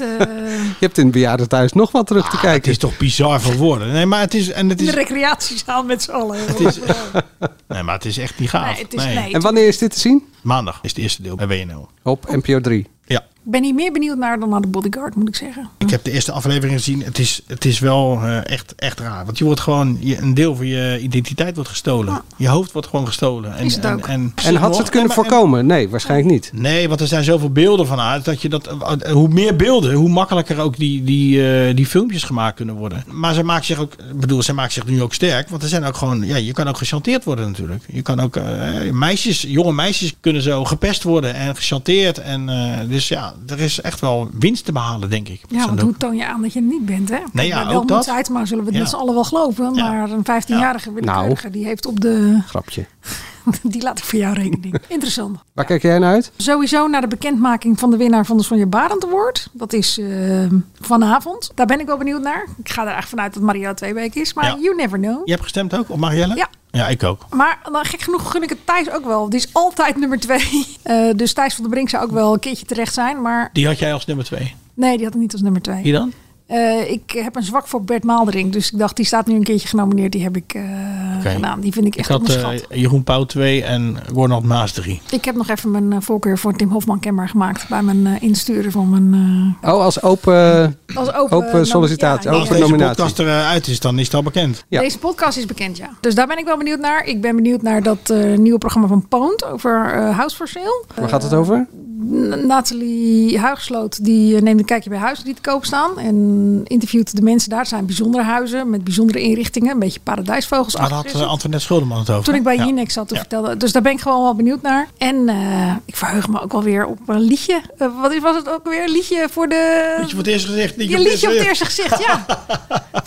Speaker 3: eh,
Speaker 1: je hebt in het bejaardentehuis nog wat terug te
Speaker 2: Ah, het
Speaker 1: kijken.
Speaker 2: is toch bizar voor woorden. Nee, maar het is. En het
Speaker 3: in de
Speaker 2: is
Speaker 3: recreatiezaal met z'n allen.
Speaker 2: nee, maar het is echt niet gaaf.
Speaker 3: Nee, het is- nee.
Speaker 1: En wanneer is dit te zien?
Speaker 2: Maandag is het eerste deel bij WNL.
Speaker 1: Op NPO 3.
Speaker 2: Ja.
Speaker 3: Ik ben hier meer benieuwd naar dan naar de bodyguard, moet ik zeggen.
Speaker 2: Ik heb de eerste aflevering gezien. Het is, het is wel eh, echt, echt raar. Want je wordt gewoon, je, een deel van je identiteit wordt gestolen.
Speaker 3: Ja.
Speaker 2: Je hoofd wordt gewoon gestolen. En,
Speaker 3: Ah. Is het
Speaker 2: en-
Speaker 3: ook.
Speaker 2: En,
Speaker 1: En had ze het kunnen
Speaker 2: En- en-
Speaker 1: voorkomen? Nee, waarschijnlijk niet.
Speaker 2: Nee, want er zijn zoveel beelden van uit dat je dat. eh, Hoe meer beelden, hoe makkelijker ook die, die, eh, die filmpjes gemaakt kunnen worden. Maar ze maken zich ook. Ik bedoel, ze maken zich nu ook sterk. Want er zijn ook gewoon. Ja, je kan ook gechanteerd worden natuurlijk. Je kan ook. eh, meisjes, jonge meisjes kunnen zo gepest worden en gechanteerd. En, eh, dus ja, er is echt wel winst te behalen, denk ik.
Speaker 3: Ja,
Speaker 2: Zo'n
Speaker 3: want hoe toon je aan dat je het niet bent, hè?
Speaker 2: Nee, ja,
Speaker 3: Bij
Speaker 2: ook
Speaker 3: wel
Speaker 2: dat.
Speaker 3: moet uit, maar zullen we het
Speaker 2: Ja.
Speaker 3: met z'n allen wel geloven.
Speaker 2: Ja.
Speaker 3: Maar een 15-jarige willekeurige, die heeft op de...
Speaker 1: Grapje.
Speaker 3: Die laat ik voor jou rekening. Interessant.
Speaker 1: Waar kijk jij naar uit?
Speaker 3: Sowieso naar de bekendmaking van de winnaar van de Sonja Barend Award. Dat is eh, vanavond. Daar ben ik wel benieuwd naar. Ik ga er eigenlijk vanuit dat Maria Tweebeek is. Maar
Speaker 2: Ja.
Speaker 3: you never know.
Speaker 2: Je hebt gestemd ook op Marielle?
Speaker 3: Ja.
Speaker 2: Ja, ik ook.
Speaker 3: Maar nou, gek genoeg gun ik het Thijs ook wel. Die is altijd nummer twee. Eh, dus Thijs van der Brink zou ook wel een keertje terecht zijn. Maar
Speaker 2: Die had jij als nummer twee.
Speaker 3: nee, die had ik niet als nummer twee.
Speaker 2: Wie dan?
Speaker 3: Eh, ik heb een zwak voor Bert Maalderink. Dus ik dacht, die staat nu een keertje genomineerd. Die heb ik eh, gedaan. Die vind ik
Speaker 2: Ik
Speaker 3: echt
Speaker 2: had
Speaker 3: onderschat.
Speaker 2: eh, Jeroen Pauw twee en Ronald Maas drie.
Speaker 3: Ik heb nog even mijn eh, voorkeur voor Tim Hofman kenbaar gemaakt. Bij mijn eh, insturen van mijn... eh,
Speaker 1: Oh, als open...
Speaker 3: als open,
Speaker 1: Open
Speaker 3: nom-
Speaker 1: sollicitatie,
Speaker 3: ja,
Speaker 2: Als
Speaker 1: open
Speaker 3: ja.
Speaker 2: deze
Speaker 1: nominatie.
Speaker 2: podcast eruit is, dan is het al bekend.
Speaker 1: Ja.
Speaker 3: Deze podcast is bekend, ja. Dus daar ben ik wel benieuwd naar. Ik ben benieuwd naar dat eh, nieuwe programma van Poont over eh, House for Sale.
Speaker 1: Waar gaat het over?
Speaker 3: N- Nathalie Huigsloot die eh, neemt een kijkje bij huizen die te koop staan. En interviewt de mensen daar. Het zijn bijzondere huizen met bijzondere inrichtingen. Een beetje paradijsvogels.
Speaker 2: Maar daar had eh, Antoinette Schulderman het over.
Speaker 3: Toen ik bij
Speaker 2: Ja.
Speaker 3: Jinek zat, toen
Speaker 2: Ja.
Speaker 3: vertelde. Dus daar ben ik gewoon wel benieuwd naar. En eh, ik verheug me ook wel weer op een liedje. Eh, wat is- was het ook weer? Een liedje voor de.
Speaker 2: Liedje voor het eerste gezicht.
Speaker 3: Je liedje op het eerste gezicht, ja.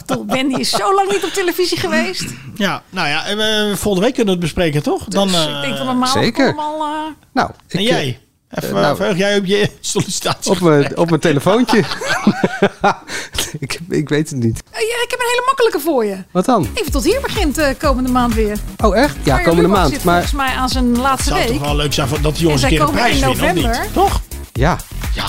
Speaker 3: Toch, Ben die is zo lang niet op televisie geweest.
Speaker 2: Ja, nou ja, en we- volgende week kunnen we het bespreken, toch?
Speaker 3: Dus
Speaker 2: eh,
Speaker 3: ik denk van normaal
Speaker 1: zeker.
Speaker 3: allemaal... eh,
Speaker 1: Nou, ik,
Speaker 2: En jij? Even,
Speaker 1: eh, nou.
Speaker 2: verheug jij op je sollicitatie?
Speaker 1: Op mijn, op mijn telefoontje. ik, ik weet het niet.
Speaker 3: eh, ja, ik heb een hele makkelijke voor je.
Speaker 1: Wat dan?
Speaker 3: Even tot hier begint eh, komende maand weer.
Speaker 1: Oh, echt? Ja,
Speaker 3: Arjen
Speaker 1: komende
Speaker 3: Lubach
Speaker 1: maand.
Speaker 3: Zit
Speaker 1: Maar
Speaker 3: volgens mij aan zijn laatste
Speaker 2: zou
Speaker 3: week.
Speaker 2: toch wel leuk zijn voor- dat die jongens een
Speaker 3: En
Speaker 2: keer
Speaker 3: zij
Speaker 2: een prijs
Speaker 3: komen in
Speaker 2: winnen, of niet?
Speaker 3: november.
Speaker 2: Toch?
Speaker 1: ja,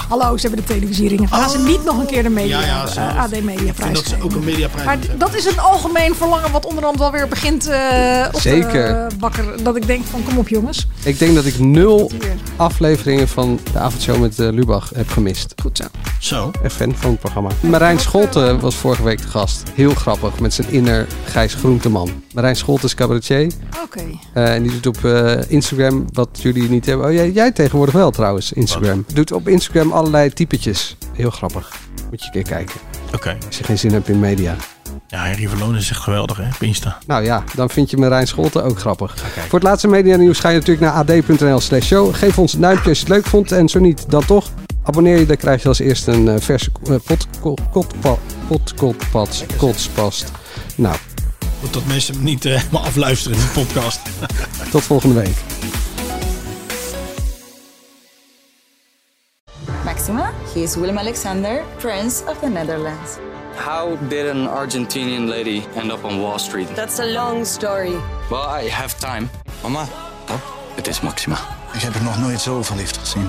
Speaker 3: Hallo, ze hebben de televisieringen. Gaan ze niet nog een keer de media,
Speaker 2: Oh. Ja, ja, ze-
Speaker 3: eh, AD Media
Speaker 2: En
Speaker 3: prijs
Speaker 2: dat ze ook een mediaprijs
Speaker 3: Maar
Speaker 2: moeten
Speaker 3: d-
Speaker 2: hebben.
Speaker 3: dat is een algemeen verlangen wat onderhand wel weer begint eh, op
Speaker 1: Zeker.
Speaker 3: te eh, bakken. Dat ik denk van kom op jongens.
Speaker 1: ik denk dat ik nul afleveringen van de avondshow met eh, Lubach heb gemist.
Speaker 3: Goed zo.
Speaker 2: Zo.
Speaker 1: Een fan van het programma. Marijn Scholten was vorige week de gast. Heel grappig, met zijn inner Gijs Groenteman. Marijn Scholten is cabaretier.
Speaker 3: Oké.
Speaker 1: Eh, en die doet op eh, Instagram wat jullie niet hebben. Oh, jij, jij tegenwoordig wel trouwens, Instagram. Doet op Instagram allerlei typetjes. Heel grappig. Moet je een keer kijken.
Speaker 2: Oké.
Speaker 1: Als je geen zin hebt in media.
Speaker 2: Ja, Harry Verloon is echt geweldig, hè? Op Insta.
Speaker 1: Nou ja, dan vind je Marijn Scholten ook grappig. Voor het laatste media nieuws ga je natuurlijk naar ad.nl slash show. Geef ons een duimpje als je het leuk vond. En zo niet, dan toch. Abonneer je, dan krijg je als eerste een eh, verse eh, pot, kot, kot, pa- pot, kot, pats, kotspast. Nou,
Speaker 2: Goed dat mensen hem niet eh, helemaal afluisteren in de podcast.
Speaker 1: tot volgende week.
Speaker 11: Maxima, he is Willem Alexander, Prince of the Netherlands.
Speaker 10: How did an Argentinian lady end up on Wall Street?
Speaker 12: That's a long story.
Speaker 10: Well, I have time. Mama, oh, it is Maxima.
Speaker 9: Ik heb er nog nooit zo verliefd gezien.